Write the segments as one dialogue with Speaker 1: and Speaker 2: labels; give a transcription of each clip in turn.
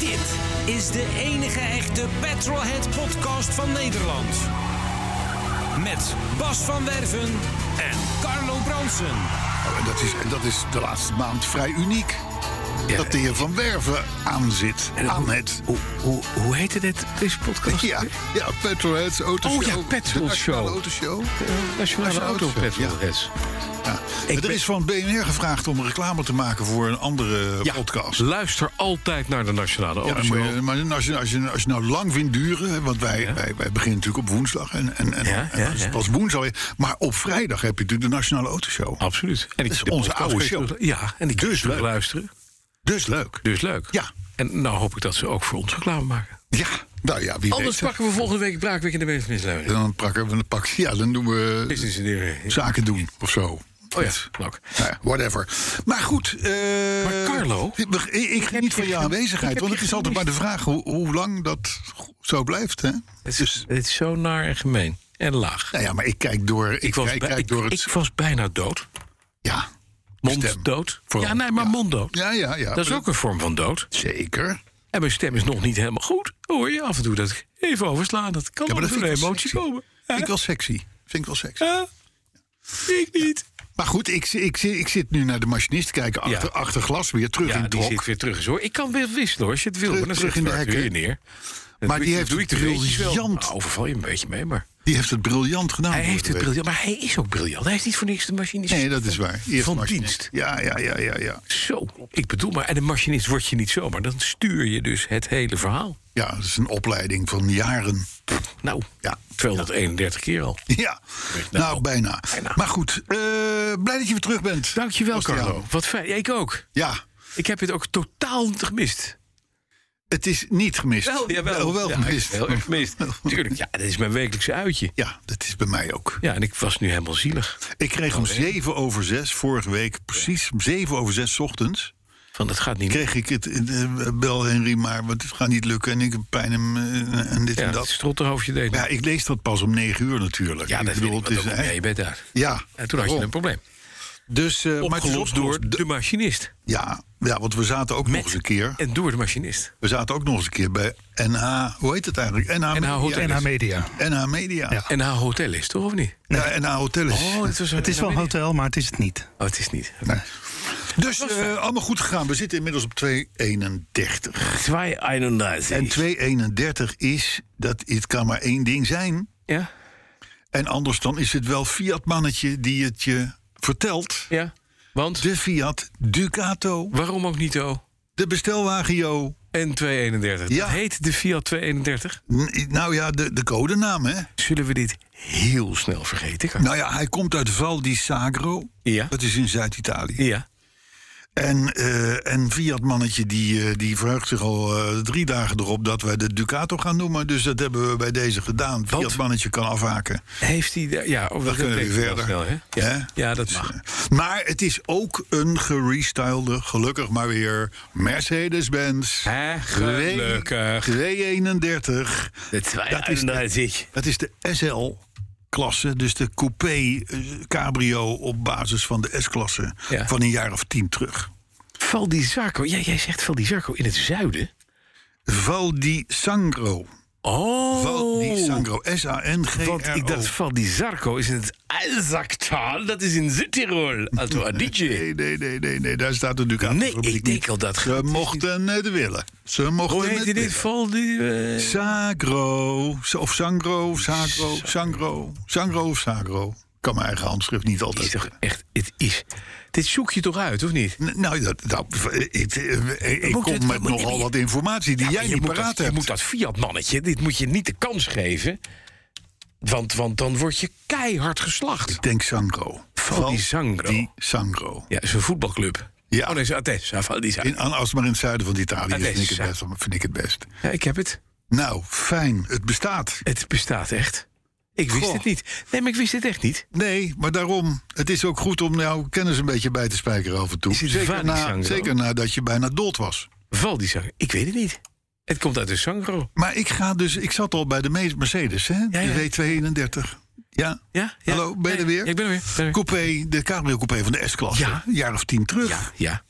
Speaker 1: Dit is de enige echte Petrolhead podcast van Nederland. Met Bas van Werven en Carlo Bronsen.
Speaker 2: Dat is, dat is de laatste maand vrij uniek. Dat de heer Van Werven aan zit. Aan het.
Speaker 3: Hoe, hoe, hoe heette dit, deze podcast?
Speaker 2: Ja, ja Petrolheads Autoshow.
Speaker 3: Oh ja, Petrol
Speaker 2: De Nationale
Speaker 3: Show.
Speaker 2: Autoshow.
Speaker 3: Eh, Nationale
Speaker 2: Nationale
Speaker 3: Auto
Speaker 2: Auto, ja.
Speaker 3: Petrolheads.
Speaker 2: Ja.
Speaker 3: Ik
Speaker 2: Er
Speaker 3: ben-
Speaker 2: is van BNR gevraagd om reclame te maken voor een andere
Speaker 3: Ja,
Speaker 2: podcast.
Speaker 3: luister altijd naar de Nationale
Speaker 2: Ja,
Speaker 3: Auto
Speaker 2: dan moet je- maar als je, als, je, als je nou lang vindt duren, hè, want wij,
Speaker 3: Ja.
Speaker 2: wij, wij beginnen natuurlijk op woensdag. En, en, en,
Speaker 3: Ja,
Speaker 2: en
Speaker 3: ja,
Speaker 2: dat is
Speaker 3: ja.
Speaker 2: pas woensdag. weer. Maar op vrijdag heb je natuurlijk de Nationale Autoshow.
Speaker 3: Absoluut. En
Speaker 2: Dat is
Speaker 3: de
Speaker 2: onze
Speaker 3: podcast
Speaker 2: oude
Speaker 3: kun je
Speaker 2: show.
Speaker 3: terug- Ja, en die kun je
Speaker 2: Dus
Speaker 3: terug
Speaker 2: leuk.
Speaker 3: luisteren.
Speaker 2: Dus leuk.
Speaker 3: Dus leuk.
Speaker 2: Ja.
Speaker 3: En nou hoop ik dat ze ook voor ons reclame maken.
Speaker 2: Ja, nou ja, wie
Speaker 3: Anders
Speaker 2: weet.
Speaker 3: pakken we volgende week Braakweek in de Bevenisluiden.
Speaker 2: Dan pakken we een pak. Ja, dan doen we
Speaker 3: Business in de...
Speaker 2: zaken doen of zo.
Speaker 3: Oh ja, leuk.
Speaker 2: Nou ja, whatever. Maar goed. eh,
Speaker 3: Maar Carlo,
Speaker 2: ik- Ik, ik
Speaker 3: heb
Speaker 2: geniet van
Speaker 3: je
Speaker 2: je
Speaker 3: gem- ik
Speaker 2: aanwezigheid.
Speaker 3: heb
Speaker 2: Want
Speaker 3: je
Speaker 2: het is altijd maar de
Speaker 3: gemist.
Speaker 2: vraag hoe, hoe lang dat zo blijft. Hè?
Speaker 3: Het is,
Speaker 2: Dus,
Speaker 3: het is zo naar en gemeen. En laag.
Speaker 2: nou ja, maar ik kijk door, ik kijk,
Speaker 3: bij-
Speaker 2: kijk
Speaker 3: ik-
Speaker 2: door het.
Speaker 3: ik was bijna dood.
Speaker 2: ja, stem.
Speaker 3: Mond dood.
Speaker 2: Vooral.
Speaker 3: Ja, nee, maar
Speaker 2: Ja.
Speaker 3: mond dood.
Speaker 2: ja, ja, ja.
Speaker 3: Dat is ook een vorm van dood.
Speaker 2: Zeker.
Speaker 3: En mijn stem is nog niet helemaal goed. Hoor je af en toe dat ik even overslaan. Dat kan
Speaker 2: Ja,
Speaker 3: ja,
Speaker 2: maar dat
Speaker 3: door
Speaker 2: vind
Speaker 3: de
Speaker 2: ik wel
Speaker 3: emotie
Speaker 2: sexy.
Speaker 3: komen.
Speaker 2: Vind
Speaker 3: Hè?
Speaker 2: ik wel sexy. Vind ik wel sexy.
Speaker 3: Hè? Ik niet.
Speaker 2: Maar goed, ik, ik, ik zit nu naar de machinist te kijken.
Speaker 3: Ja.
Speaker 2: Achter, achter glas weer terug
Speaker 3: Ja,
Speaker 2: in het
Speaker 3: die zit
Speaker 2: blok.
Speaker 3: weer terug. Hoor. Ik kan weer wisselen hoor. Als je het wil.
Speaker 2: Terug-
Speaker 3: maar dan
Speaker 2: terug
Speaker 3: zit
Speaker 2: in de
Speaker 3: het
Speaker 2: hekken.
Speaker 3: weer neer. Dat
Speaker 2: Maar
Speaker 3: doe
Speaker 2: die
Speaker 3: ik-
Speaker 2: heeft
Speaker 3: doe ik de beetjes wel.
Speaker 2: briljant- Nou,
Speaker 3: Nou, overval je een beetje mee. Maar
Speaker 2: Die heeft het briljant gedaan.
Speaker 3: hij
Speaker 2: vorige
Speaker 3: heeft het
Speaker 2: week.
Speaker 3: briljant. Maar hij is ook briljant. Hij is niet voor niks de machinist.
Speaker 2: Nee, dat is waar. Eerst
Speaker 3: van
Speaker 2: machinist.
Speaker 3: dienst.
Speaker 2: Ja, ja, ja, ja, ja.
Speaker 3: Zo. Ik bedoel maar. En een machinist word je niet zomaar. Dan stuur je dus het hele verhaal.
Speaker 2: Ja, dat is een opleiding van jaren.
Speaker 3: Nou,
Speaker 2: Ja.
Speaker 3: 231 keer al.
Speaker 2: Ja, nou bijna.
Speaker 3: Bijna.
Speaker 2: Maar goed, eh, blij dat je weer terug bent.
Speaker 3: Dankjewel,
Speaker 2: Bastiaan.
Speaker 3: Carlo. Wat fijn. Ja, ik ook.
Speaker 2: Ja,
Speaker 3: Ik heb het ook totaal gemist.
Speaker 2: het is niet gemist. Wel, wel
Speaker 3: Ja,
Speaker 2: gemist.
Speaker 3: Heel erg gemist. Tuurlijk, ja, dat is mijn wekelijkse uitje.
Speaker 2: Ja, dat is bij mij ook.
Speaker 3: Ja, en ik was nu helemaal zielig.
Speaker 2: Ik kreeg om 7 over 6 vorige week, precies om 7 over 6 ochtends,
Speaker 3: Van, dat gaat niet lukken.
Speaker 2: kreeg ik het eh, bel Henry, maar want het gaat niet lukken en ik heb pijn en, eh, en dit
Speaker 3: Ja,
Speaker 2: en
Speaker 3: dat
Speaker 2: dat.
Speaker 3: strottenhoofdje deed.
Speaker 2: Ja, ik lees dat pas om 9 uur natuurlijk.
Speaker 3: ja
Speaker 2: Ik
Speaker 3: dat
Speaker 2: bedoel,
Speaker 3: bedoel ik.
Speaker 2: het is,
Speaker 3: want ook-
Speaker 2: hè,
Speaker 3: ja, je bent daar.
Speaker 2: ja,
Speaker 3: En toen had je
Speaker 2: daarom.
Speaker 3: een probleem.
Speaker 2: Dus, eh, maar het is
Speaker 3: Opgelost door
Speaker 2: opgelost.
Speaker 3: de machinist.
Speaker 2: Ja, ja, want we zaten ook nog eens een keer.
Speaker 3: En door de machinist.
Speaker 2: We zaten ook nog eens een keer bij NH, hoe heet het eigenlijk? NH,
Speaker 3: NH
Speaker 2: Media.
Speaker 3: Hotel.
Speaker 4: NH Media.
Speaker 2: NH Media. Ja. Oh,
Speaker 3: En haar hotel is, toch of niet?
Speaker 2: NH Hotel is.
Speaker 3: dat was
Speaker 4: Het is wel een hotel, maar het is het niet.
Speaker 3: Oh, het is niet.
Speaker 2: dus eh, allemaal goed gegaan. We zitten inmiddels op 231.
Speaker 3: 231.
Speaker 2: En 231 is, dat het kan maar één ding zijn.
Speaker 3: Ja?
Speaker 2: En anders dan is het wel Fiat mannetje die het je vertelt.
Speaker 3: Ja? Want,
Speaker 2: De Fiat Ducato,
Speaker 3: waarom ook niet, oh?
Speaker 2: de bestelwagio.
Speaker 3: En 231.
Speaker 2: Ja.
Speaker 3: Dat heet de Fiat 231.
Speaker 2: N- Nou ja, de, de codenaam hè.
Speaker 3: Zullen we dit heel snel vergeten? Kan?
Speaker 2: Nou ja, hij komt uit Val di Sagro.
Speaker 3: Ja.
Speaker 2: Dat is in Zuid-Italië.
Speaker 3: Ja.
Speaker 2: En, eh en Fiat-mannetje die, eh, die verheugt zich al eh, drie dagen erop dat wij de Ducato gaan noemen. Dus dat hebben we bij deze gedaan.
Speaker 3: Want?
Speaker 2: Fiat-mannetje kan afhaken.
Speaker 3: Heeft hij daar... Ja, of
Speaker 2: Dan kunnen we
Speaker 3: denkt
Speaker 2: weer
Speaker 3: wel
Speaker 2: verder.
Speaker 3: Snel, hè? Ja.
Speaker 2: Hè?
Speaker 3: ja, dat
Speaker 2: Dus,
Speaker 3: mag.
Speaker 2: eh, Maar het is ook een gerestylede, gelukkig maar weer, Mercedes-Benz.
Speaker 3: Hè?
Speaker 2: Twee-
Speaker 3: Gelukkig.
Speaker 2: 231.
Speaker 3: De
Speaker 2: dat is de-
Speaker 3: 231.
Speaker 2: Dat is de SL-klasse, dus de coupé eh, cabrio op basis van de S-klasse
Speaker 3: Ja.
Speaker 2: van een jaar of tien terug.
Speaker 3: Val di Zarco. Ja, jij zegt Val di Zarco in het zuiden.
Speaker 2: Val di Sangro.
Speaker 3: Oh.
Speaker 2: Val di Sangro. S-A-N-G-R-O.
Speaker 3: Want ik dacht Val di Zarco is in het Alzaktal. Dat is in Zuid-Tirol. Alto Adige.
Speaker 2: Nee, nee, nee, nee, nee, daar staat de Ducato.
Speaker 3: Nee,
Speaker 2: fabriek
Speaker 3: ik denk
Speaker 2: niet.
Speaker 3: al dat
Speaker 2: Ze
Speaker 3: gaat-
Speaker 2: mochten het willen. Ze mochten
Speaker 3: Hoe heet
Speaker 2: het
Speaker 3: die dit?
Speaker 2: willen.
Speaker 3: Val di... eh,
Speaker 2: Sagro. Of Sangro. Sagro. Sangro. Sangro of Sagro. Ik kan mijn eigen handschrift niet
Speaker 3: is
Speaker 2: altijd.
Speaker 3: toch echt... Het is... Dit zoek je toch uit, of niet?
Speaker 2: N- Nou, eh, dat, dat, ik, ik, ik
Speaker 3: Moet
Speaker 2: kom
Speaker 3: het-
Speaker 2: met
Speaker 3: moet-
Speaker 2: nogal
Speaker 3: je-
Speaker 2: wat informatie die
Speaker 3: Ja,
Speaker 2: jij
Speaker 3: maar Ah, je
Speaker 2: niet
Speaker 3: moet
Speaker 2: paraat
Speaker 3: dat, Je
Speaker 2: hebt.
Speaker 3: moet dat Fiat-mannetje, dit moet je niet de kans geven... Want, want dan word je keihard geslacht.
Speaker 2: Ik denk Sangro. Val
Speaker 3: die Sangro.
Speaker 2: Die Sangro.
Speaker 3: Ja, is een voetbalclub.
Speaker 2: Ja.
Speaker 3: Oh nee, is Atessa, van die zaak.
Speaker 2: In, aan- als het maar in het zuiden van Italië
Speaker 3: Ah,
Speaker 2: is,
Speaker 3: nee,
Speaker 2: vind ik, het
Speaker 3: ja.
Speaker 2: best, vind ik het best.
Speaker 3: Ja, ik heb het.
Speaker 2: Nou, fijn. Het bestaat.
Speaker 3: Het bestaat echt. Ik wist
Speaker 2: Goh.
Speaker 3: het niet. Nee, maar ik wist het echt niet.
Speaker 2: Nee, maar daarom. Het is ook goed om nou kennis een beetje bij te spijkeren af en toe.
Speaker 3: Is het waar,
Speaker 2: Zeker,
Speaker 3: die
Speaker 2: na,
Speaker 3: Sangro?
Speaker 2: zeker nadat je bijna dood was.
Speaker 3: Val die zanger. Ik weet het niet. Het komt uit de Sangro.
Speaker 2: Maar ik ga dus, ik zat al bij de Me- Mercedes, hè?
Speaker 3: Ja, ja.
Speaker 2: De W32. Ja.
Speaker 3: Ja? ja.
Speaker 2: Hallo, ben je
Speaker 3: Ja,
Speaker 2: er weer?
Speaker 3: ja, ik ben er weer. Ik ben er weer.
Speaker 2: Coupé, de cabrio coupé van de S-klasse.
Speaker 3: Ja.
Speaker 2: Een jaar of tien terug.
Speaker 3: Ja, ja.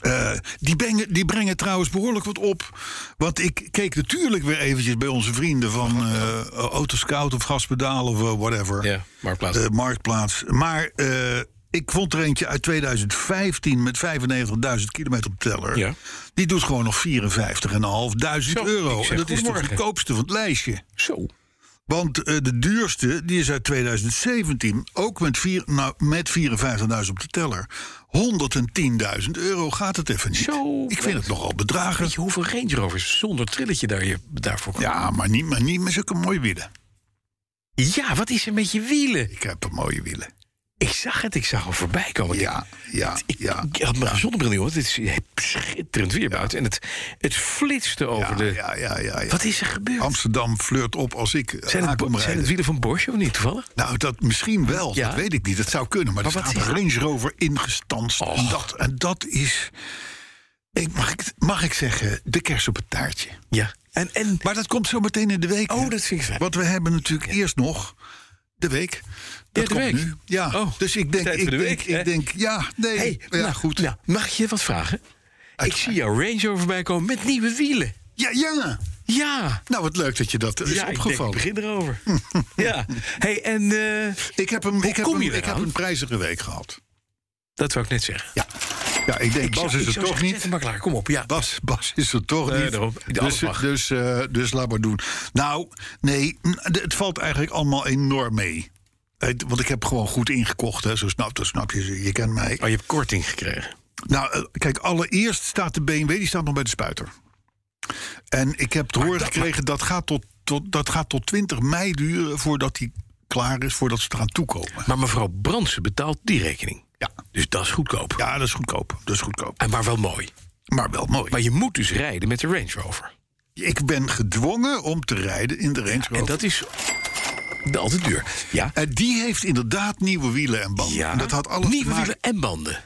Speaker 2: Eh, die, brengen, die brengen trouwens behoorlijk wat op. Want ik keek natuurlijk weer eventjes bij onze vrienden van eh, Autoscout of Gaspedaal of eh, whatever.
Speaker 3: Ja, Marktplaats.
Speaker 2: Eh, marktplaats. Maar eh, ik vond er eentje uit 2015 met 95.000 kilometer op de teller.
Speaker 3: Ja.
Speaker 2: Die doet gewoon nog 54.500
Speaker 3: Zo,
Speaker 2: euro.
Speaker 3: ik zeg
Speaker 2: En dat is de
Speaker 3: goedemorgen.
Speaker 2: goedkoopste van het lijstje.
Speaker 3: Zo.
Speaker 2: Want eh, de duurste, die is uit 2017, ook met, vier, nou, met 54.000 op de teller. 110.000 euro gaat het even niet.
Speaker 3: Zo.
Speaker 2: Ik vind het nogal bedragen.
Speaker 3: Weet je hoeveel Range Rovers zonder trilletje daar je, daarvoor kan?
Speaker 2: Ja, maar niet, maar niet met zulke mooie wielen.
Speaker 3: ja, wat is er met je wielen?
Speaker 2: Ik heb een mooie wielen.
Speaker 3: Ik zag het, ik zag hem voorbij komen.
Speaker 2: Ja, ja,
Speaker 3: Ik,
Speaker 2: ja.
Speaker 3: ik had mijn zonnebril niet hoor. Het is schitterend weer buiten. En het, het flitste over
Speaker 2: Ja,
Speaker 3: de...
Speaker 2: ja, ja, ja, ja.
Speaker 3: Wat is er gebeurd?
Speaker 2: Amsterdam flirt op als ik eh,
Speaker 3: zijn, het,
Speaker 2: aankom
Speaker 3: bo- zijn het
Speaker 2: rijden.
Speaker 3: wielen van Borsche of niet toevallig?
Speaker 2: Nou, dat misschien wel.
Speaker 3: Ja?
Speaker 2: Dat weet ik niet. Dat zou kunnen. Maar,
Speaker 3: Maar
Speaker 2: er
Speaker 3: wat
Speaker 2: staat een Range Rover ingestanst. En,
Speaker 3: Och.
Speaker 2: dat, en dat is... Ik, mag, ik, mag ik zeggen, de kers op het taartje.
Speaker 3: Ja. En, en
Speaker 2: Maar dat komt zo meteen in de week.
Speaker 3: Oh,
Speaker 2: hè?
Speaker 3: dat vind ik fijn.
Speaker 2: Want we hebben natuurlijk eerst nog de week. Dat
Speaker 3: de
Speaker 2: komt
Speaker 3: week.
Speaker 2: nu. Ja,
Speaker 3: Oh,
Speaker 2: dus ik denk,
Speaker 3: tijd
Speaker 2: ik
Speaker 3: voor de
Speaker 2: denk,
Speaker 3: week, hè?
Speaker 2: ik denk, ja, nee,
Speaker 3: hey,
Speaker 2: ja,
Speaker 3: nou,
Speaker 2: goed.
Speaker 3: nou, mag ik je wat vragen? Ik zie jouw Range Rover voorbij komen met nieuwe wielen.
Speaker 2: Ja, ja.
Speaker 3: Ja.
Speaker 2: Nou, wat leuk dat je dat is
Speaker 3: ja,
Speaker 2: opgevallen.
Speaker 3: ik
Speaker 2: Ik,
Speaker 3: denk, ik begin erover. ja. hey, en eh,
Speaker 2: heb hem, ik heb
Speaker 3: kom
Speaker 2: hem,
Speaker 3: je
Speaker 2: ik heb
Speaker 3: eraan?
Speaker 2: een prijzige week gehad.
Speaker 3: dat wou ik net zeggen.
Speaker 2: Ja, ja ik denk,
Speaker 3: Ik
Speaker 2: Bas
Speaker 3: zou-
Speaker 2: is
Speaker 3: ik
Speaker 2: er toch
Speaker 3: zou zeggen, Zet
Speaker 2: niet.
Speaker 3: hem maar klaar, kom op. Ja.
Speaker 2: Bas, Bas is er toch
Speaker 3: Nee,
Speaker 2: niet.
Speaker 3: daarom. Alles
Speaker 2: Dus,
Speaker 3: mag.
Speaker 2: dus, eh, dus laat maar doen. Nou, nee, n- de- het valt eigenlijk allemaal enorm mee. Het- Want ik heb gewoon goed ingekocht, hè. Zo snap, dat snap je, je kent mij.
Speaker 3: Oh, je hebt korting gekregen.
Speaker 2: Nou, eh, kijk, allereerst staat de BMW die staat nog bij de spuiter. En ik heb te horen gekregen dat gaat tot, tot, dat gaat tot 20 mei duren voordat die klaar is, voordat ze eraan toekomen.
Speaker 3: Maar mevrouw Brandsen betaalt die rekening.
Speaker 2: Ja.
Speaker 3: Dus dat is goedkoop.
Speaker 2: Ja, dat is goedkoop. Dat is goedkoop.
Speaker 3: En maar wel mooi.
Speaker 2: Maar wel mooi.
Speaker 3: Maar je moet dus rijden met de Range Rover.
Speaker 2: ik ben gedwongen om te rijden in de Range Rover.
Speaker 3: En dat is altijd duur. Eh, Ja.
Speaker 2: En die heeft inderdaad nieuwe wielen en banden.
Speaker 3: ja.
Speaker 2: En dat had alles
Speaker 3: Nieuwe
Speaker 2: te maken...
Speaker 3: wielen en banden.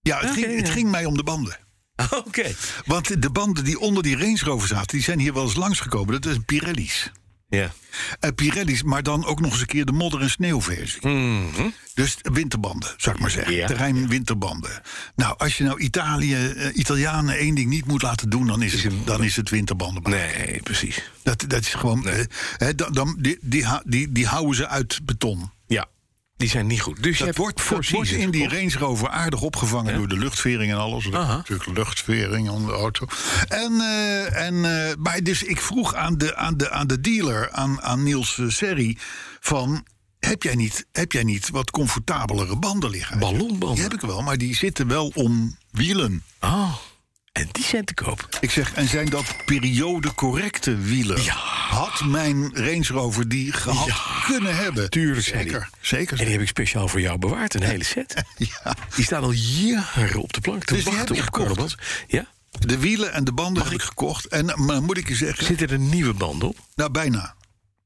Speaker 2: Ja, het, ging,
Speaker 3: Oké,
Speaker 2: het
Speaker 3: ja.
Speaker 2: ging mij om de banden.
Speaker 3: Oké.
Speaker 2: Want de banden die onder die Range Rover zaten... die zijn hier wel eens langsgekomen. Dat is Pirelli's.
Speaker 3: Ja.
Speaker 2: Eh, Pirelli's, maar dan ook nog eens een keer de modder- en sneeuwversie. Dus winterbanden, zou ik maar zeggen.
Speaker 3: Ja.
Speaker 2: Terrein winterbanden. Nou, als je nou Italië, eh, Italianen één ding niet moet laten doen... dan is het, dan is het winterbanden. maken.
Speaker 3: Nee, precies.
Speaker 2: Dat, dat is gewoon... eh, hè, dan, dan, die, die, ha- die, die houden ze uit beton.
Speaker 3: Ja. Die zijn niet goed. Dus je
Speaker 2: Dat
Speaker 3: hebt
Speaker 2: wordt,
Speaker 3: voor
Speaker 2: dat wordt in die Range Rover aardig opgevangen door de luchtvering en alles. Er is
Speaker 3: Aha.
Speaker 2: Natuurlijk luchtvering onder de auto. En, eh, en, eh, maar dus ik vroeg aan de, aan de, aan de dealer, aan, aan Niels eh, Serri... van, heb jij, niet, heb jij niet wat comfortabelere banden liggen? Hij zegt,
Speaker 3: Ballonbanden.
Speaker 2: Die heb ik wel, maar die zitten wel om wielen.
Speaker 3: Oh. En die zijn te koop.
Speaker 2: Ik zeg, en zijn dat periodecorrecte wielen?
Speaker 3: Ja.
Speaker 2: Had mijn Range Rover die gehad
Speaker 3: Ja.
Speaker 2: kunnen hebben?
Speaker 3: Tuurlijk, zei
Speaker 2: Zeker,
Speaker 3: hij. En die
Speaker 2: zeker.
Speaker 3: heb ik speciaal voor jou bewaard, een hele set.
Speaker 2: Ja.
Speaker 3: Die staan al jaren op de plank te
Speaker 2: Dus die
Speaker 3: wachten
Speaker 2: heb je
Speaker 3: op Carlo
Speaker 2: gekocht?
Speaker 3: Brands. Ja?
Speaker 2: De wielen en de banden heb ik gekocht. En maar moet ik je zeggen,
Speaker 3: Zitten er nieuwe banden op?
Speaker 2: nou bijna.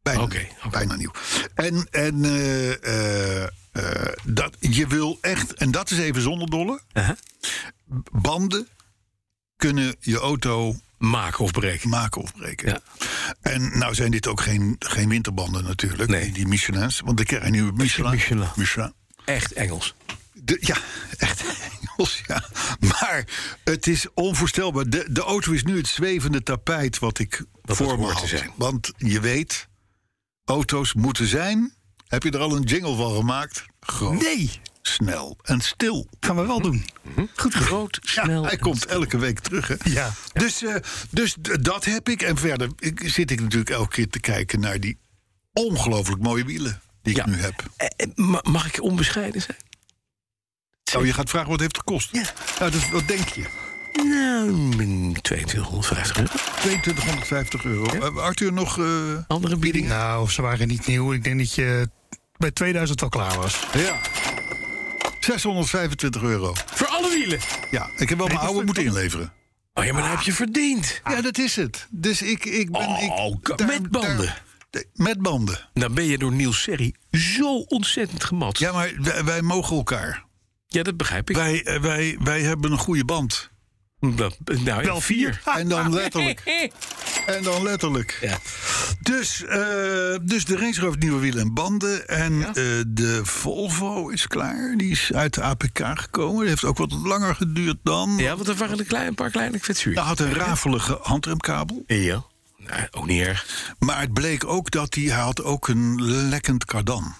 Speaker 2: Bijna,
Speaker 3: Oké,
Speaker 2: nieuw.
Speaker 3: oké.
Speaker 2: bijna nieuw. En, en eh, eh, eh, dat, je wil echt, en dat is even zonder dolle.
Speaker 3: Aha.
Speaker 2: Banden kunnen je auto
Speaker 3: Maken of breken?
Speaker 2: maken of breken.
Speaker 3: Ja.
Speaker 2: En nou zijn dit ook geen, geen winterbanden natuurlijk,
Speaker 3: Nee.
Speaker 2: die, die Michelin's. Want ik krijg nu Michelin.
Speaker 3: Michelin.
Speaker 2: Michelin.
Speaker 3: Echt Engels.
Speaker 2: De- ja, echt Engels, ja. Maar het is onvoorstelbaar. De, de auto is nu het zwevende tapijt wat ik
Speaker 3: Dat
Speaker 2: voor
Speaker 3: het
Speaker 2: me
Speaker 3: hoort te
Speaker 2: had.
Speaker 3: zijn.
Speaker 2: Want je weet, auto's moeten zijn. Heb je er al een jingle van gemaakt? Groot,
Speaker 4: Nee,
Speaker 2: snel en stil.
Speaker 4: gaan we wel doen.
Speaker 3: Goed groot,
Speaker 2: Hm? Ja,
Speaker 3: snel.
Speaker 2: hij
Speaker 3: en-
Speaker 2: komt elke week terug, hè?
Speaker 4: Ja.
Speaker 2: Dus, eh, dus d- dat heb ik. En verder ik- zit ik natuurlijk elke keer te kijken naar die ongelooflijk mooie wielen die ik
Speaker 3: Ja.
Speaker 2: nu heb.
Speaker 3: Eh, eh, ma- mag ik onbescheiden zijn?
Speaker 2: Oh, je gaat vragen wat het heeft gekost.
Speaker 3: Ja.
Speaker 2: Nou, dat, dat denk je.
Speaker 3: Nou, 2250 euro.
Speaker 2: 2250 euro. Eh, Arthur, nog... eh,
Speaker 3: Andere bieding?
Speaker 4: Nou, ze waren niet nieuw. Ik denk dat je bij 2000 wel klaar was.
Speaker 2: ja. 625 euro.
Speaker 3: Voor alle wielen.
Speaker 2: Ja, ik heb wel mijn oude moeten inleveren.
Speaker 3: Oh ja, maar dat heb je verdiend.
Speaker 2: Ja, dat is het. Dus ik, ik ben...
Speaker 3: Ah. Oh,
Speaker 2: ik,
Speaker 3: ka- met banden.
Speaker 2: daar- met banden.
Speaker 3: Dan ben je door Niels Serri zo ontzettend gemat. Ja.
Speaker 2: Ja, maar wij, wij mogen elkaar.
Speaker 3: dat begrijp ik.
Speaker 2: Wij, eh, wij, wij hebben een goede band.
Speaker 3: Dat- nou,
Speaker 4: Wel vier.
Speaker 2: En dan letterlijk. En dan letterlijk.
Speaker 3: Ja.
Speaker 2: Dus, eh, dus de Range Rover nieuwe wielen en banden. En eh, de Volvo is klaar. Die is uit de APK gekomen. Die heeft ook wat langer geduurd dan.
Speaker 3: ja, want er waren een, klein, een paar kleine kwetsuren.
Speaker 2: Hij had een rafelige handremkabel.
Speaker 3: Ja. Nou, ook niet erg.
Speaker 2: Maar het bleek ook dat hij, hij had ook een lekkend kardan.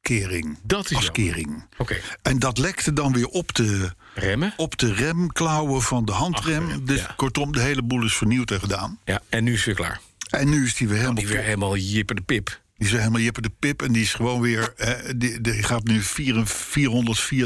Speaker 2: Kering.
Speaker 3: Dat is
Speaker 2: Als
Speaker 3: jammer.
Speaker 2: kering.
Speaker 3: Oké.
Speaker 2: En dat lekte dan weer op de,
Speaker 3: Eh, Remmen?
Speaker 2: op de remklauwen van de handrem.
Speaker 3: Achterrem,
Speaker 2: dus
Speaker 3: ja.
Speaker 2: kortom, de hele boel is vernieuwd en gedaan.
Speaker 3: Ja, en nu is het weer klaar.
Speaker 2: En nu is die weer helemaal
Speaker 3: Die weer helemaal jipper de pip.
Speaker 2: Die is helemaal jipper de pip en die is gewoon weer... eh, die, die gaat nu 4 404.500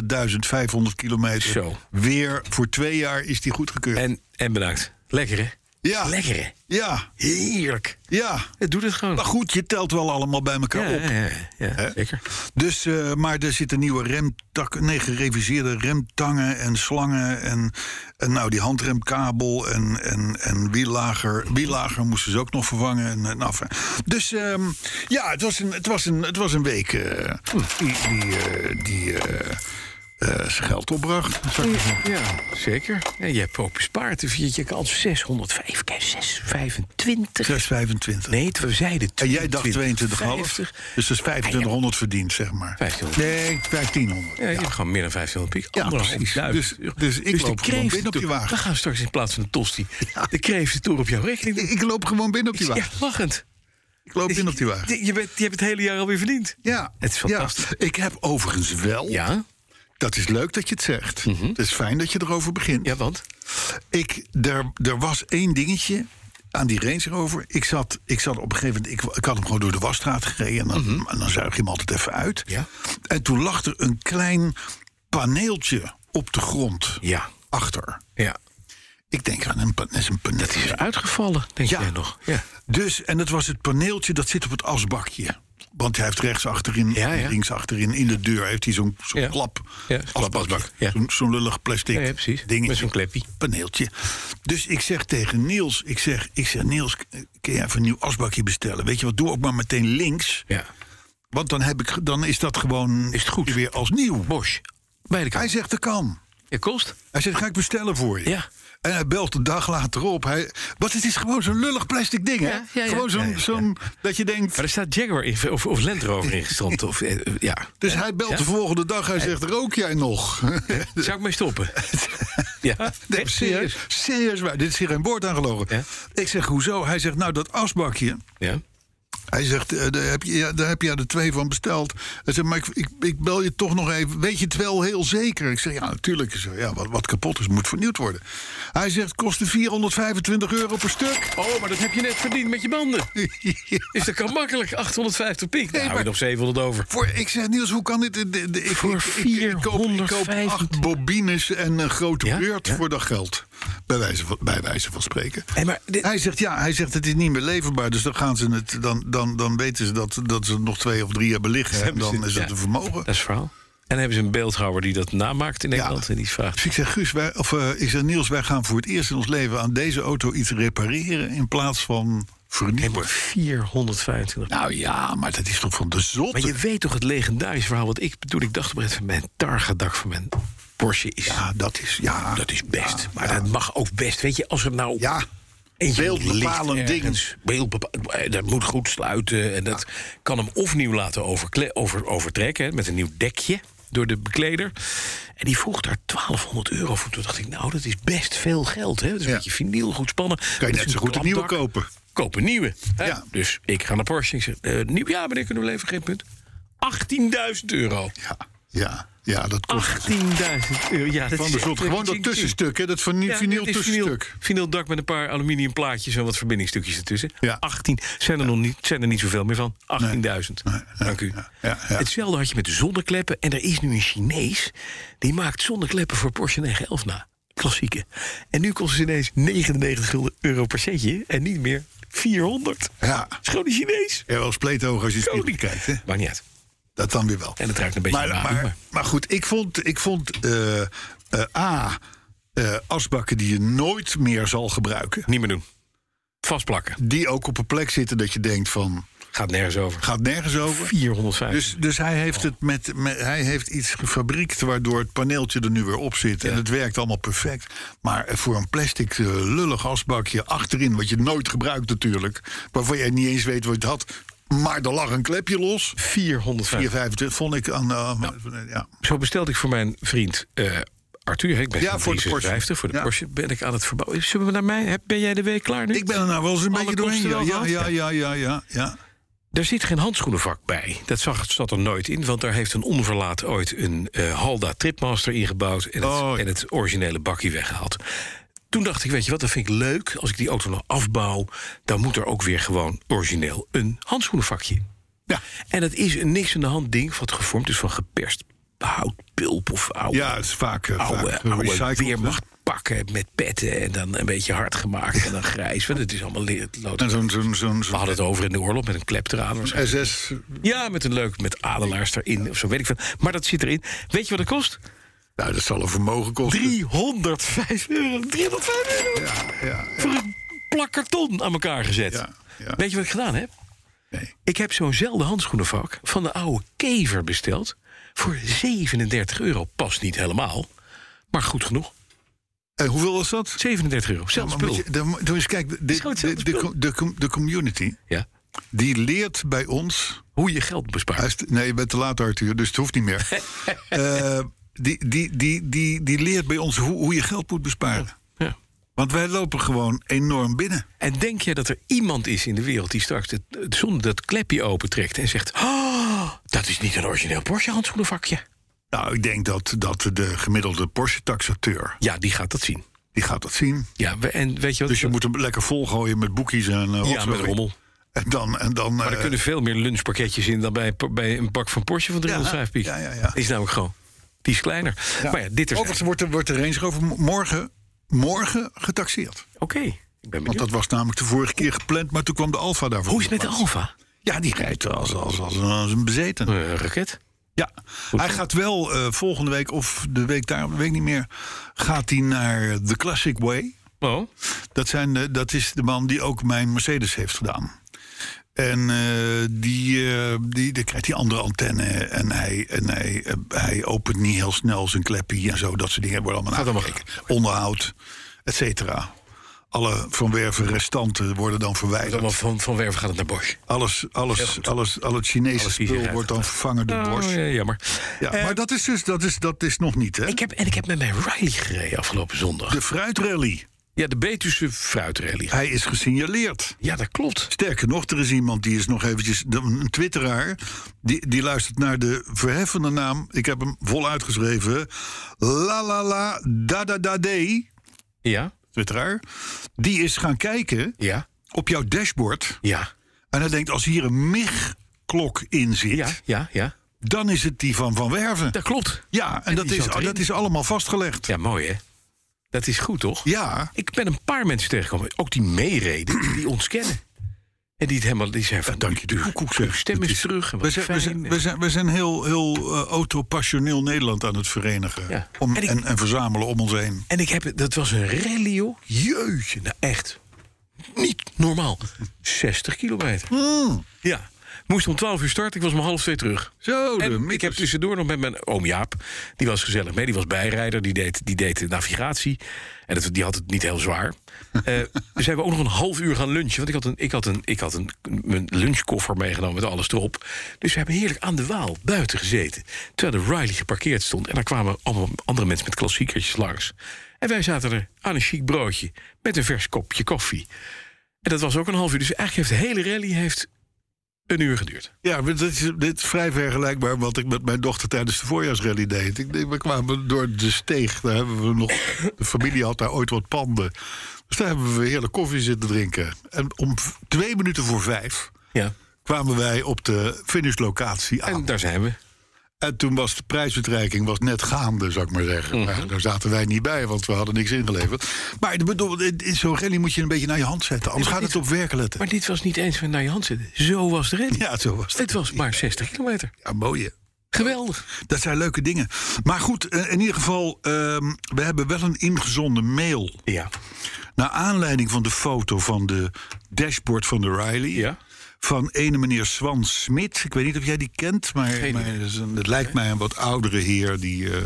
Speaker 2: kilometer.
Speaker 3: Zo.
Speaker 2: Weer voor twee jaar is die goedgekeurd.
Speaker 3: En, en bedankt. Lekker, hè?
Speaker 2: Ja.
Speaker 3: Lekker, hè?
Speaker 2: Ja,
Speaker 3: Heerlijk.
Speaker 2: ja.
Speaker 3: Het doet het gewoon.
Speaker 2: Maar goed, je telt wel allemaal bij elkaar
Speaker 3: ja,
Speaker 2: op.
Speaker 3: ja, ja, ja, zeker.
Speaker 2: Dus, eh, maar er zitten nieuwe remtakken, nee, gereviseerde remtangen en slangen. En, en nou, die handremkabel en, en, en wiellager. Wiellager moesten ze ook nog vervangen. En, eh, nou, enfin. dus ehm, ja, het was een, het was een, het was een week eh, die, die, eh, die eh, eh, zijn geld opbracht. zou ik maar zeggen.
Speaker 3: Ja, zeker. Ja, je hebt ook bespaard. Dan viert je kans 605, kijk, 625.
Speaker 2: 6,25.
Speaker 3: Nee, we zeiden 22.
Speaker 2: En jij dacht 22,5.
Speaker 3: 50.
Speaker 2: Dus dat is 2500 verdiend, zeg maar.
Speaker 3: 1500.
Speaker 2: Nee, 1500.
Speaker 3: Ja, je hebt gewoon meer dan 1500 piek.
Speaker 2: Ja,
Speaker 3: Anderhalf
Speaker 2: precies.
Speaker 3: duizend
Speaker 2: Dus-
Speaker 3: euro.
Speaker 2: dus ik
Speaker 3: de
Speaker 2: loop gewoon
Speaker 3: kreeftentoer-
Speaker 2: binnen op die wagen.
Speaker 3: We gaan straks in plaats van een tosti de kreeftentoer op jouw rekening doen.
Speaker 2: Ik loop gewoon binnen op die
Speaker 3: Ja,
Speaker 2: wagen.
Speaker 3: lachend.
Speaker 2: Ik loop binnen op die wagen.
Speaker 3: Je, bent, je hebt het hele jaar alweer verdiend.
Speaker 2: Ja,
Speaker 3: Het is fantastisch.
Speaker 2: ja. Ik heb overigens wel.
Speaker 3: Ja, Mhm.
Speaker 2: Dat is leuk dat je het zegt. Het is fijn dat je erover begint.
Speaker 3: ja want?
Speaker 2: Ik, er, er was één dingetje aan die Range Rover. Ik zat, ik zat op een gegeven moment. Ik, ik had hem gewoon door de wasstraat gereden. En dan, en dan zuig je hem altijd even uit.
Speaker 3: Mhm. Ja.
Speaker 2: En toen lag er een klein paneeltje op de grond
Speaker 3: Ja.
Speaker 2: achter.
Speaker 3: Ja.
Speaker 2: Ik denk aan een, pa- dat is een paneeltje.
Speaker 3: Uitgevallen, denk
Speaker 2: Ja.
Speaker 3: jij nog. Ja.
Speaker 2: Dus, en dat was het paneeltje dat zit op het asbakje. Want hij heeft rechts achterin,
Speaker 3: Ja, ja.
Speaker 2: links achterin, in de deur heeft hij zo'n zo'n
Speaker 3: Ja.
Speaker 2: klap.
Speaker 3: Ja, zo'n klap
Speaker 2: asbakje.
Speaker 3: asbak, ja.
Speaker 2: Zo'n zo'n lullig plastic
Speaker 3: Ja, ja, precies.
Speaker 2: dingetje.
Speaker 3: Met zo'n kleppie.
Speaker 2: Paneeltje. Dus ik zeg tegen Niels, ik zeg, ik zeg Niels, k- kun jij even een nieuw asbakje bestellen? Weet je wat, doe ook maar meteen links.
Speaker 3: ja.
Speaker 2: Want dan, heb ik, ge- dan is dat gewoon
Speaker 3: Is het goed?
Speaker 2: weer als nieuw.
Speaker 3: Bosch.
Speaker 2: Hij
Speaker 3: Beide kanten.
Speaker 2: zegt, dat kan.
Speaker 3: Het kost.
Speaker 2: Hij zegt, ga ik bestellen voor je.
Speaker 3: Ja.
Speaker 2: En hij belt een dag later op. Hij, want het is gewoon zo'n lullig plastic ding, hè?
Speaker 3: Ja, ja, ja.
Speaker 2: Gewoon zo'n,
Speaker 3: Ja, ja, ja.
Speaker 2: zo'n- dat je denkt...
Speaker 3: Maar er staat Jaguar in, of, of Land Rover ingestrand. Of, eh, eh, ja.
Speaker 2: Dus hij belt
Speaker 3: Ja?
Speaker 2: de volgende dag. Hij zegt: Rook jij nog?
Speaker 3: Zou ik mee stoppen? ja,
Speaker 2: Nee, serieus. Serieus waar. Dit is hier geen woord aan gelogen.
Speaker 3: Ja?
Speaker 2: Ik zeg: Hoezo? Hij zegt: Nou, dat asbakje.
Speaker 3: Ja.
Speaker 2: Hij zegt: eh, daar, heb je, ja, daar heb je er twee van besteld. Hij zegt: Maar ik, ik, ik bel je toch nog even. Weet je het wel heel zeker? Ik zeg: Ja, natuurlijk. Ik zeg, ja, wat, wat kapot is, moet vernieuwd worden. Hij zegt: Kostte 425 euro per stuk.
Speaker 3: Oh, maar dat heb je net verdiend met je banden. Dus dat kan makkelijk. 850 piek. Daar hou je
Speaker 2: maar-
Speaker 3: nog 700 over.
Speaker 2: Voor, ik zeg, Niels, hoe kan dit? De- de- de- ik,
Speaker 3: Voor
Speaker 2: ik, ik, ik koop, ik koop
Speaker 3: 425.
Speaker 2: acht bobines en een grote
Speaker 3: Ja,
Speaker 2: beurt
Speaker 3: ja.
Speaker 2: voor dat geld. Bij wijze van, bij wijze van spreken.
Speaker 3: Hé, maar dit-
Speaker 2: Hij zegt, ja, hij zegt, het is niet meer leverbaar. Dus dan, gaan ze het, dan, dan, dan weten ze dat, dat ze het nog twee of drie hebben liggen. En dan is het
Speaker 3: Ja.
Speaker 2: een vermogen.
Speaker 3: Dat is het verhaal. En dan hebben ze een beeldhouwer die dat namaakt in Nederland. En die vraagt...
Speaker 2: Dus ik zeg, Guus, wij, of, eh, ik zeg, Niels, wij gaan voor het eerst in ons leven aan deze auto iets repareren in plaats van vernieuwen.
Speaker 3: 425
Speaker 2: Nou ja, maar dat is toch van de zotte.
Speaker 3: Maar je weet toch het legendarische verhaal wat ik toen ik dacht op het van mijn targadak van mijn Porsche is.
Speaker 2: ja, dat is, ja,
Speaker 3: dat is best.
Speaker 2: Ja,
Speaker 3: maar
Speaker 2: ja.
Speaker 3: dat mag ook best. Weet je, als er nou
Speaker 2: Ja.
Speaker 3: eentje
Speaker 2: Beeldbepalend
Speaker 3: ligt
Speaker 2: ding.
Speaker 3: ergens, beeldbepa- eh, dat moet goed sluiten en dat kan hem of nieuw laten overkle- over, overtrekken hè, met een nieuw dekje door de bekleder. En die vroeg daar 1200 euro voor. Toen dacht ik, nou, dat is best veel geld. Hè? Dat is
Speaker 2: Ja.
Speaker 3: een beetje vinyl, goed spannen.
Speaker 2: Kan je
Speaker 3: Met
Speaker 2: net zo
Speaker 3: zo'n
Speaker 2: goed een nieuwe
Speaker 3: klapdak.
Speaker 2: kopen.
Speaker 3: Koop een nieuwe. Hè?
Speaker 2: Ja.
Speaker 3: Dus ik ga naar Porsche. Ik zeg, eh, nieuw, ja, meneer, kunnen we even geen punt. 18.000 euro.
Speaker 2: Ja, ja, ja, dat kost
Speaker 3: 18.000 euro. Ja, dat
Speaker 2: Van
Speaker 3: is
Speaker 2: de
Speaker 3: echt
Speaker 2: zot.
Speaker 3: een
Speaker 2: Gewoon dat
Speaker 3: ching-ching.
Speaker 2: tussenstuk, hè? dat van
Speaker 3: Ja,
Speaker 2: vinyl
Speaker 3: dit is
Speaker 2: tussenstuk.
Speaker 3: vinyl- Vinyl dak met een paar aluminium plaatjes en wat verbindingstukjes ertussen.
Speaker 2: Ja.
Speaker 3: 18. Zijn er, nog niet, zijn er niet zoveel meer van. 18.000. Dank u.
Speaker 2: ja, ja.
Speaker 3: Hetzelfde had je met de zonnekleppen. En er is nu een Chinees die maakt zonnekleppen voor Porsche 911 na. klassieke. En nu kost ze ineens 99 gulden euro per setje en niet meer 400.
Speaker 2: Ja.
Speaker 3: Schoon Chinees.
Speaker 2: Ja, wel spleetoog als je het
Speaker 3: Koning.
Speaker 2: niet kijkt, hè?
Speaker 3: Maakt niet uit.
Speaker 2: Dat dan weer wel.
Speaker 3: En het ruikt een beetje
Speaker 2: maar,
Speaker 3: naar
Speaker 2: maar,
Speaker 3: maar...
Speaker 2: maar goed, ik vond, ik vond eh, eh, A, eh, asbakken die je nooit meer zal gebruiken.
Speaker 3: Niet meer doen. Vastplakken.
Speaker 2: Die ook op een plek zitten dat je denkt van,
Speaker 3: Gaat nergens over.
Speaker 2: gaat nergens over.
Speaker 3: 450.
Speaker 2: Dus, dus hij heeft het met, met- hij heeft iets gefabriekt waardoor het paneeltje er nu weer op zit. En het werkt allemaal perfect. Maar voor een plastic eh, lullig asbakje achterin, wat je nooit gebruikt natuurlijk, waarvan jij niet eens weet wat je het had. Maar er lag een klepje los.
Speaker 3: 450.
Speaker 2: 425 vond ik aan. eh, ja.
Speaker 3: Zo bestelde ik voor mijn vriend eh, Arthur. hè, Ik ben
Speaker 2: Ja,
Speaker 3: van
Speaker 2: voor de Porsche.
Speaker 3: 356, Voor de
Speaker 2: Ja.
Speaker 3: Porsche ben ik aan het verbouwen. Eh, Zullen we naar mij? Heb- Ben jij de week klaar nu?
Speaker 2: Ik ben er nou wel eens een
Speaker 3: Alle
Speaker 2: beetje doorheen.
Speaker 3: kosten
Speaker 2: Ja,
Speaker 3: wel
Speaker 2: ja,
Speaker 3: gehad?
Speaker 2: ja, ja, ja, ja, ja.
Speaker 3: Er zit geen handschoenenvak bij. Dat zag, zat er nooit in, want daar heeft een onverlaat ooit een eh, Halda Tripmaster ingebouwd en het,
Speaker 2: Oh.
Speaker 3: en het originele bakje weggehaald. Toen dacht ik, weet je wat, dat vind ik leuk. Als ik die auto nog afbouw, dan moet er ook weer gewoon origineel een handschoenenvakje.
Speaker 2: Ja.
Speaker 3: En dat is een niks aan de hand ding wat gevormd is van geperst houtpulp of oude
Speaker 2: ja, het is vaak, eh,
Speaker 3: oude,
Speaker 2: vaak gerecycled,
Speaker 3: oude
Speaker 2: hè.
Speaker 3: weermacht pakken met petten en dan een beetje hard gemaakt en dan grijs. Want het is allemaal leer- lood.
Speaker 2: En zo'n zo'n zo'n
Speaker 3: We hadden het over in de oorlog met een klep eraan. waarschijnlijk.
Speaker 2: zo'n SS.
Speaker 3: Ja, met een leuk, met adelaars erin of zo, weet ik veel. Maar dat zit erin. Weet je wat het kost?
Speaker 2: Nou, dat zal een vermogen kosten.
Speaker 3: 305 euro. 305 euro.
Speaker 2: Ja, ja,
Speaker 3: Voor een plak karton aan elkaar gezet.
Speaker 2: Ja, ja.
Speaker 3: Weet je wat ik gedaan heb?
Speaker 2: Nee.
Speaker 3: Ik heb zo'nzelfde handschoenenvak van de oude kever besteld. Voor 37 euro. Past niet helemaal, maar goed genoeg.
Speaker 2: En Eh, hoeveel was dat?
Speaker 3: 37 euro.
Speaker 2: Ja,
Speaker 3: Zelfs
Speaker 2: maar
Speaker 3: spul.
Speaker 2: moet je- dan moet- doe eens, kijk, de, de,
Speaker 3: gewoon
Speaker 2: de,
Speaker 3: hetzelfde
Speaker 2: de,
Speaker 3: spul.
Speaker 2: de com- de community
Speaker 3: Ja.
Speaker 2: die leert bij ons.
Speaker 3: Hoe je geld bespaart.
Speaker 2: Hij is- Nee, je bent te laat, Arthur, dus het hoeft niet meer. Eh, die, die, die, die, die leert bij ons hoe, hoe je geld moet besparen.
Speaker 3: Ja.
Speaker 2: Want wij lopen gewoon enorm binnen.
Speaker 3: En denk je dat er iemand is in de wereld die straks het, het- zonder dat klepje opentrekt en zegt: oh, dat is niet een origineel Porsche handschoenenvakje?
Speaker 2: Nou, ik denk dat, dat de gemiddelde Porsche-taxateur,
Speaker 3: Ja, die gaat dat zien.
Speaker 2: die gaat dat zien.
Speaker 3: Ja, we- en weet je wat?
Speaker 2: Dus je moet hem lekker volgooien met boekjes en eh,
Speaker 3: ja,
Speaker 2: rotzooi.
Speaker 3: met rommel.
Speaker 2: En dan... En dan
Speaker 3: Maar er
Speaker 2: eh,
Speaker 3: kunnen veel meer lunchpakketjes in dan bij, bij een bak van Porsche van 305 piek.
Speaker 2: ja, ja, ja.
Speaker 3: Die is namelijk gewoon. Die is kleiner. Maar ja, dit is.
Speaker 2: Overigens
Speaker 3: Oké,
Speaker 2: wordt de, wordt de Range Rover mo- morgen, morgen getaxeerd.
Speaker 3: ik ben
Speaker 2: Want
Speaker 3: benieuwd.
Speaker 2: dat was namelijk de vorige keer gepland, maar toen kwam de Alfa daarvoor.
Speaker 3: Hoe is het met
Speaker 2: op
Speaker 3: de
Speaker 2: plaats.
Speaker 3: Alfa?
Speaker 2: Ja, die rijdt als, als, als, als een bezeten.
Speaker 3: Eh, raket.
Speaker 2: Ja. Hij gaat wel eh, volgende week of de week daar, weet ik niet meer, gaat hij naar The Classic Way.
Speaker 3: Oh,
Speaker 2: Dat, zijn de, dat is de man die ook mijn Mercedes heeft gedaan. En eh, die, eh, die, die krijgt die andere antenne. En hij, en hij, eh, hij opent niet heel snel zijn kleppie en zo. Dat soort dingen worden allemaal
Speaker 3: Gaat allemaal
Speaker 2: aangekeken. Onderhoud, et cetera. Alle van Werven restanten worden dan verwijderd.
Speaker 3: allemaal van, van Werven gaat het naar Bosch.
Speaker 2: Alles, alles, alles, al het Chinese
Speaker 3: Alles vieze
Speaker 2: spul
Speaker 3: rijdt
Speaker 2: wordt dan vervangen door Bosch.
Speaker 3: Oh, ja, jammer.
Speaker 2: Ja, maar dat is dus dat is, dat is nog niet, hè?
Speaker 3: Ik heb, en ik heb met mijn Riley gereden afgelopen zondag.
Speaker 2: De fruitrally.
Speaker 3: Ja, de Betuwe fruitrally.
Speaker 2: Hij is gesignaleerd.
Speaker 3: Ja, dat klopt.
Speaker 2: Sterker nog, er is iemand die is nog eventjes... de- Een twitteraar, die, die luistert naar de verheffende naam... Ik heb hem vol uitgeschreven. La la la da da da day.
Speaker 3: Ja,
Speaker 2: Twitteraar. Die is gaan kijken
Speaker 3: ja,
Speaker 2: op jouw dashboard.
Speaker 3: ja,
Speaker 2: En hij denkt, als hier een MIG-klok in zit...
Speaker 3: ja, ja, ja.
Speaker 2: dan is het die van Van Werven.
Speaker 3: Dat klopt.
Speaker 2: Ja, en, dat,
Speaker 3: die
Speaker 2: is,
Speaker 3: zat erin.
Speaker 2: dat is allemaal vastgelegd.
Speaker 3: Ja, mooi hè. Dat is goed toch?
Speaker 2: Ja,
Speaker 3: Ik ben een paar mensen tegengekomen, ook die meereden, die ons kennen. En die het helemaal, die zijn van,
Speaker 2: dank je de koekoek,
Speaker 3: uw
Speaker 2: zeg.
Speaker 3: stem
Speaker 2: Het
Speaker 3: is
Speaker 2: is-
Speaker 3: terug. En
Speaker 2: We
Speaker 3: wat
Speaker 2: zijn, we
Speaker 3: fijn. eh.
Speaker 2: zijn, we zijn, we zijn heel, heel eh, autopassioneel Nederland aan het verenigen.
Speaker 3: Ja.
Speaker 2: Om,
Speaker 3: En
Speaker 2: en,
Speaker 3: ik-
Speaker 2: en, verzamelen om ons heen.
Speaker 3: En ik heb, het- dat was een rally joh. Jeetje, nou echt. Niet normaal. 60 kilometer. Ja. Moest om 12 uur starten, ik was om half twee terug.
Speaker 2: Zo, Oh, de
Speaker 3: En ik heb
Speaker 2: mikkers.
Speaker 3: tussendoor nog met mijn oom Jaap. Die was gezellig mee. Die was bijrijder. Die deed, die deed de navigatie. En dat, die had het niet heel zwaar. Eh dus hebben we ook nog een half uur gaan lunchen. Want ik had, een, ik had, een, ik had een, mijn lunchkoffer meegenomen met alles erop. Dus we hebben heerlijk aan de Waal buiten gezeten. Terwijl de Riley geparkeerd stond. En daar kwamen allemaal andere mensen met klassiekertjes langs. En wij zaten er aan een chic broodje. Met een vers kopje koffie. En dat was ook een half uur. Dus eigenlijk heeft de hele rally heeft een uur geduurd.
Speaker 2: Ja, want dit is, dit is vrij vergelijkbaar wat ik met mijn dochter tijdens de voorjaarsrally deed. Ik, denk, we kwamen door de steeg. Daar hebben we nog, de familie had daar ooit wat panden. Dus daar hebben we heerlijk koffie zitten drinken. En om v- twee minuten voor vijf
Speaker 3: Ja.
Speaker 2: kwamen wij op de finishlocatie aan.
Speaker 3: En daar zijn we.
Speaker 2: En toen was de prijsuitreiking was net gaande, zou ik maar zeggen.
Speaker 3: Mhm.
Speaker 2: Maar daar zaten wij niet bij, want we hadden niks ingeleverd. Maar ik bedoel, in zo'n rally moet je een beetje naar je hand zetten. Anders gaat het op werken letten.
Speaker 3: Maar dit was niet eens van naar je hand zitten. Zo was de rally.
Speaker 2: Ja, zo was het.
Speaker 3: Dit was maar 60 kilometer.
Speaker 2: Ja, mooi hè.
Speaker 3: Geweldig.
Speaker 2: Dat zijn leuke dingen. Maar goed, eh, in ieder geval, ehm, we hebben wel een ingezonden mail.
Speaker 3: Ja.
Speaker 2: Naar aanleiding van de foto van de dashboard van de Riley.
Speaker 3: Ja.
Speaker 2: Van ene meneer Swan Smit. Ik weet niet of jij die kent, maar,
Speaker 3: Geen
Speaker 2: maar
Speaker 3: idee.
Speaker 2: dat is een- het lijkt mij een wat oudere heer die eh,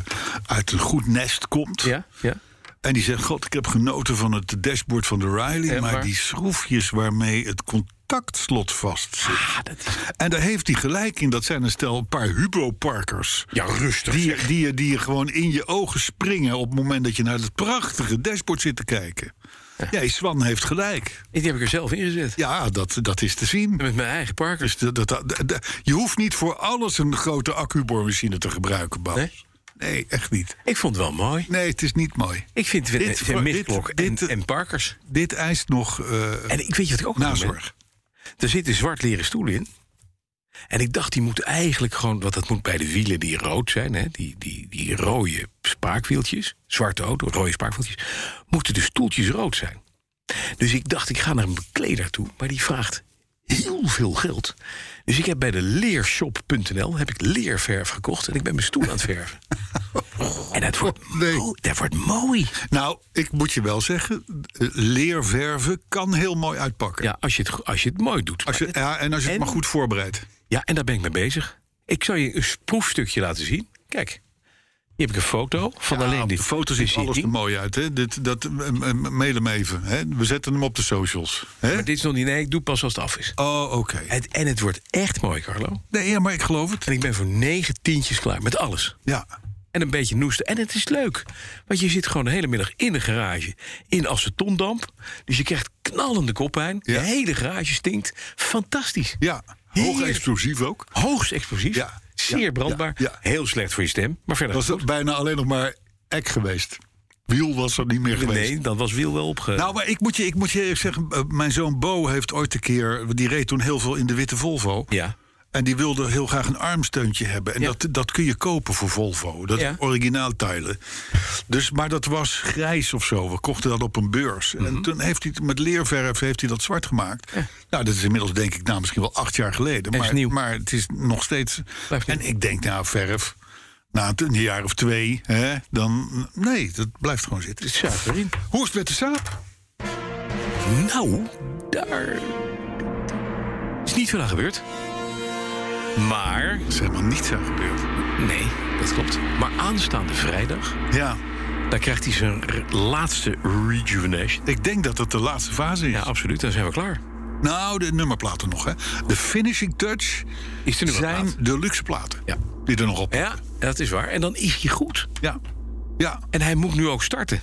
Speaker 2: uit een goed nest komt.
Speaker 3: Ja, ja.
Speaker 2: En die zegt: God, ik heb genoten van het dashboard van de Riley.
Speaker 3: Ja,
Speaker 2: maar
Speaker 3: maar-
Speaker 2: die schroefjes waarmee het contactslot vast zit.
Speaker 3: Ah.
Speaker 2: En daar heeft hij gelijk in. Dat zijn een stel een paar Hubo Parkers.
Speaker 3: Ja, rustig
Speaker 2: Die,
Speaker 3: zeg.
Speaker 2: die, die je gewoon in je ogen springen op het moment dat je naar dat prachtige dashboard zit te kijken. Ja, Swan heeft gelijk.
Speaker 3: Die heb ik er zelf in gezet.
Speaker 2: Ja, dat, dat is te zien.
Speaker 3: Met mijn eigen parkers.
Speaker 2: Dus dat, dat, dat- dat- je hoeft niet voor alles een grote accuboormachine te gebruiken, Bas.
Speaker 3: Nee?
Speaker 2: Nee? echt niet.
Speaker 3: Ik vond het wel mooi.
Speaker 2: Nee, het is niet mooi.
Speaker 3: Ik vind
Speaker 2: Dit
Speaker 3: het
Speaker 2: voor-
Speaker 3: een
Speaker 2: dit-
Speaker 3: mistklok en,
Speaker 2: dit-
Speaker 3: en parkers.
Speaker 2: Dit eist nog eh
Speaker 3: En ik weet je wat ik ook nog doe,
Speaker 2: nazorg.
Speaker 3: hè? Er zit een zwart leren stoel in. En ik dacht, die moet eigenlijk gewoon... Want dat moet bij de wielen die rood zijn. Hè? Die, die, die rode spaakwieltjes. Zwarte auto, rode spaakwieltjes. Moeten de stoeltjes rood zijn. Dus ik dacht, ik ga naar een bekleder toe. Maar die vraagt heel veel geld. Dus ik heb bij de leershop.nl heb ik leerverf gekocht. En ik ben mijn stoel aan het verven. en dat wordt,
Speaker 2: nee.
Speaker 3: mo- dat wordt mooi.
Speaker 2: Nou, ik moet je wel zeggen, eh, leerverven kan heel mooi uitpakken.
Speaker 3: Ja, als je het, go- als je het mooi doet.
Speaker 2: Als je, ja en als je het
Speaker 3: En-
Speaker 2: maar goed voorbereidt.
Speaker 3: Ja, en daar ben ik mee bezig. Ik zal je een s- proefstukje laten zien. Kijk, hier heb ik een foto van alleen
Speaker 2: op
Speaker 3: die
Speaker 2: Nou, de foto ziet alles er
Speaker 3: bezitting.
Speaker 2: mooi uit. Hè? Dit, dat, eh, eh, mail hem even. Hè? We zetten hem op de socials. Hè?
Speaker 3: Maar dit is nog niet... Nee, ik doe pas als het af is.
Speaker 2: Oh, oké.
Speaker 3: Het, en het wordt echt mooi, Carlo.
Speaker 2: Nee, ja, maar ik geloof het.
Speaker 3: En ik ben voor negen tientjes klaar met alles.
Speaker 2: Ja.
Speaker 3: En een beetje noesten. En het is leuk. Want je zit gewoon de hele middag in de garage. In acetondamp. Dus je krijgt knallende koppijn.
Speaker 2: Ja.
Speaker 3: De hele garage stinkt. Fantastisch.
Speaker 2: Ja. Hoog
Speaker 3: Heerlijk.
Speaker 2: explosief ook.
Speaker 3: Hoogst explosief.
Speaker 2: Ja.
Speaker 3: Zeer
Speaker 2: Ja.
Speaker 3: brandbaar.
Speaker 2: Ja. Ja.
Speaker 3: Heel slecht voor je stem. Maar verder...
Speaker 2: Was er bijna alleen nog maar ek geweest. Wiel was er niet meer geweest.
Speaker 3: Nee, dat was Wiel wel opge...
Speaker 2: Nou, maar ik moet je, ik moet je eerlijk zeggen, eh, mijn zoon Bo heeft ooit een keer, die reed toen heel veel in de witte Volvo.
Speaker 3: Ja.
Speaker 2: En die wilde heel graag een armsteuntje hebben. En
Speaker 3: Ja.
Speaker 2: dat, dat kun je kopen voor Volvo. Dat
Speaker 3: Ja.
Speaker 2: originaalteilen. Dus, maar dat was grijs of zo. We kochten dat op een beurs.
Speaker 3: Mhm.
Speaker 2: En toen heeft hij het met leerverf heeft hij dat zwart gemaakt. Nou, dat is inmiddels denk ik nou, misschien wel acht jaar geleden.
Speaker 3: is
Speaker 2: Maar,
Speaker 3: nieuw.
Speaker 2: maar het is nog steeds...
Speaker 3: Blijft nieuw.
Speaker 2: En ik denk, nou, verf... Na een jaar of twee, hè, dan... Nee, dat blijft gewoon zitten.
Speaker 3: Het staat erin.
Speaker 2: Hoe is het met de saap?
Speaker 3: Nou, daar is niet veel aan gebeurd. Maar,
Speaker 2: Dat is helemaal niets aan gebeurd.
Speaker 3: nee, dat klopt. Maar aanstaande vrijdag,
Speaker 2: Ja,
Speaker 3: daar krijgt hij zijn r- laatste rejuvenation.
Speaker 2: ik denk dat dat de laatste fase is.
Speaker 3: Ja, absoluut, dan zijn we klaar.
Speaker 2: Nou, de nummerplaten nog, hè. De finishing touch
Speaker 3: Is er nu
Speaker 2: zijn
Speaker 3: wat
Speaker 2: de luxe platen.
Speaker 3: Ja.
Speaker 2: Die er nog op.
Speaker 3: Ja, dat is waar. En dan is hij goed.
Speaker 2: Ja. ja.
Speaker 3: En hij moet nu ook starten.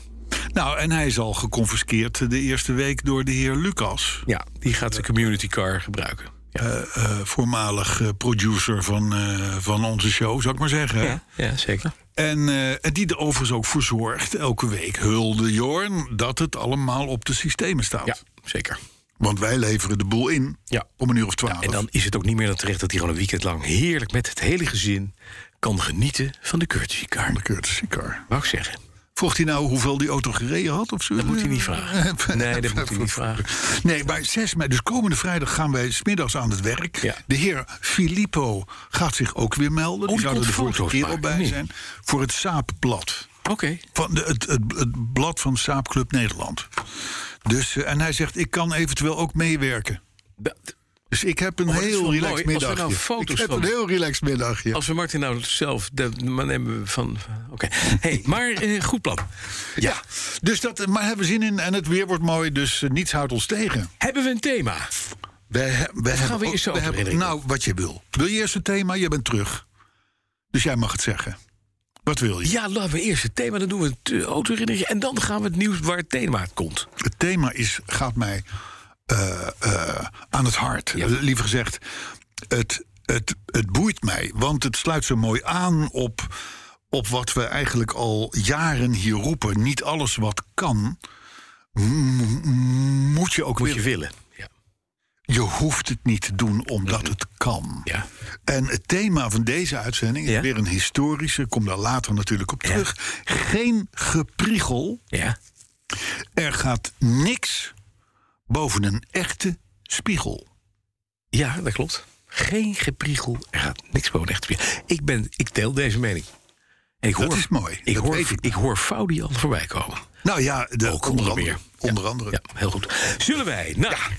Speaker 2: Nou, en hij is al geconfiskeerd de eerste week door de heer Lucas.
Speaker 3: Ja, die gaat de community car gebruiken. Ja,
Speaker 2: eh, voormalig eh, producer van, eh, van onze show, zou ik maar zeggen. hè.
Speaker 3: ja. zeker.
Speaker 2: En, eh, en die er overigens ook voor zorgt, elke week hulde Jorn, dat het allemaal op de systemen staat.
Speaker 3: Ja, zeker.
Speaker 2: Want wij leveren de boel in
Speaker 3: Ja.
Speaker 2: om een uur of twaalf.
Speaker 3: En dan is het ook niet meer dan terecht dat hij gewoon een weekend lang heerlijk met het hele gezin kan genieten van de courtesy car.
Speaker 2: de courtesy car.
Speaker 3: Wou ik zeggen.
Speaker 2: Vroeg hij nou hoeveel die auto gereden had? Of zo?
Speaker 3: Dat moet hij niet vragen. Nee, dat moet hij niet vragen.
Speaker 2: Nee, bij 6 mei, dus komende vrijdag gaan wij smiddags aan het werk.
Speaker 3: Ja. Oh,
Speaker 2: De heer Filippo gaat zich ook weer melden.
Speaker 3: die
Speaker 2: zou
Speaker 3: komt
Speaker 2: er de vorige
Speaker 3: foto's
Speaker 2: keer
Speaker 3: maken,
Speaker 2: al bij
Speaker 3: nee.
Speaker 2: zijn. Voor het Saapblad.
Speaker 3: Oké.
Speaker 2: Van de, het, het, het blad van Saapclub Nederland. Dus, eh, en hij zegt, ik kan eventueel ook meewerken.
Speaker 3: Dat-
Speaker 2: Dus ik heb een
Speaker 3: Oh, dat is wel
Speaker 2: heel
Speaker 3: mooi. Als
Speaker 2: relaxed
Speaker 3: we nou
Speaker 2: middagje.
Speaker 3: foto's
Speaker 2: ik heb
Speaker 3: van-
Speaker 2: een heel relaxed middagje.
Speaker 3: Als we Martin nou zelf... Dat, maar nemen we van... Oké. Hey, maar eh, goed plan.
Speaker 2: ja. dus dat, eh, maar hebben we zin in. En het weer wordt mooi, dus eh, niets houdt ons tegen.
Speaker 3: Hebben we een thema?
Speaker 2: Wij, he- wij hebben,
Speaker 3: we
Speaker 2: ook-
Speaker 3: eerst de
Speaker 2: wij hebben-
Speaker 3: autoherinnering
Speaker 2: Nou, wat je wil. Wil je eerst het thema? Je bent terug. Dus jij mag het zeggen. Wat wil je?
Speaker 3: Ja, laten we eerst het thema. Dan doen we het eh, autoherinnering. En dan gaan we het nieuws waar het thema uit komt.
Speaker 2: Het thema is, gaat mij eh, eh, aan het hart. Liever gezegd, het, het, het boeit mij. Want het sluit zo mooi aan op, op wat we eigenlijk al jaren hier roepen. Niet alles wat kan, m- m- moet je ook
Speaker 3: Moet
Speaker 2: willen.
Speaker 3: je willen. Ja.
Speaker 2: Je hoeft het niet te doen
Speaker 3: Mhm.
Speaker 2: omdat het kan.
Speaker 5: Ja.
Speaker 2: En het thema van deze uitzending is
Speaker 5: Ja.
Speaker 2: weer een historische. Ik kom daar later natuurlijk op
Speaker 5: Ja.
Speaker 2: terug. Geen gepriegel.
Speaker 5: Ja.
Speaker 2: Er gaat niks boven een echte spiegel.
Speaker 5: ja, dat klopt. Geen gepriegel. Er gaat niks boven echt weer. Ik, ben, ik deel deze mening. En ik
Speaker 2: Dat is mooi.
Speaker 5: Ik
Speaker 2: Dat
Speaker 5: hoor,
Speaker 2: weet
Speaker 5: ik.
Speaker 2: ik.
Speaker 5: hoor Foudi al voorbij komen.
Speaker 2: Nou ja, de,
Speaker 5: Ook
Speaker 2: onder
Speaker 5: onder
Speaker 2: andere.
Speaker 5: meer.
Speaker 2: Onder andere.
Speaker 5: Ja, heel goed. Zullen wij naar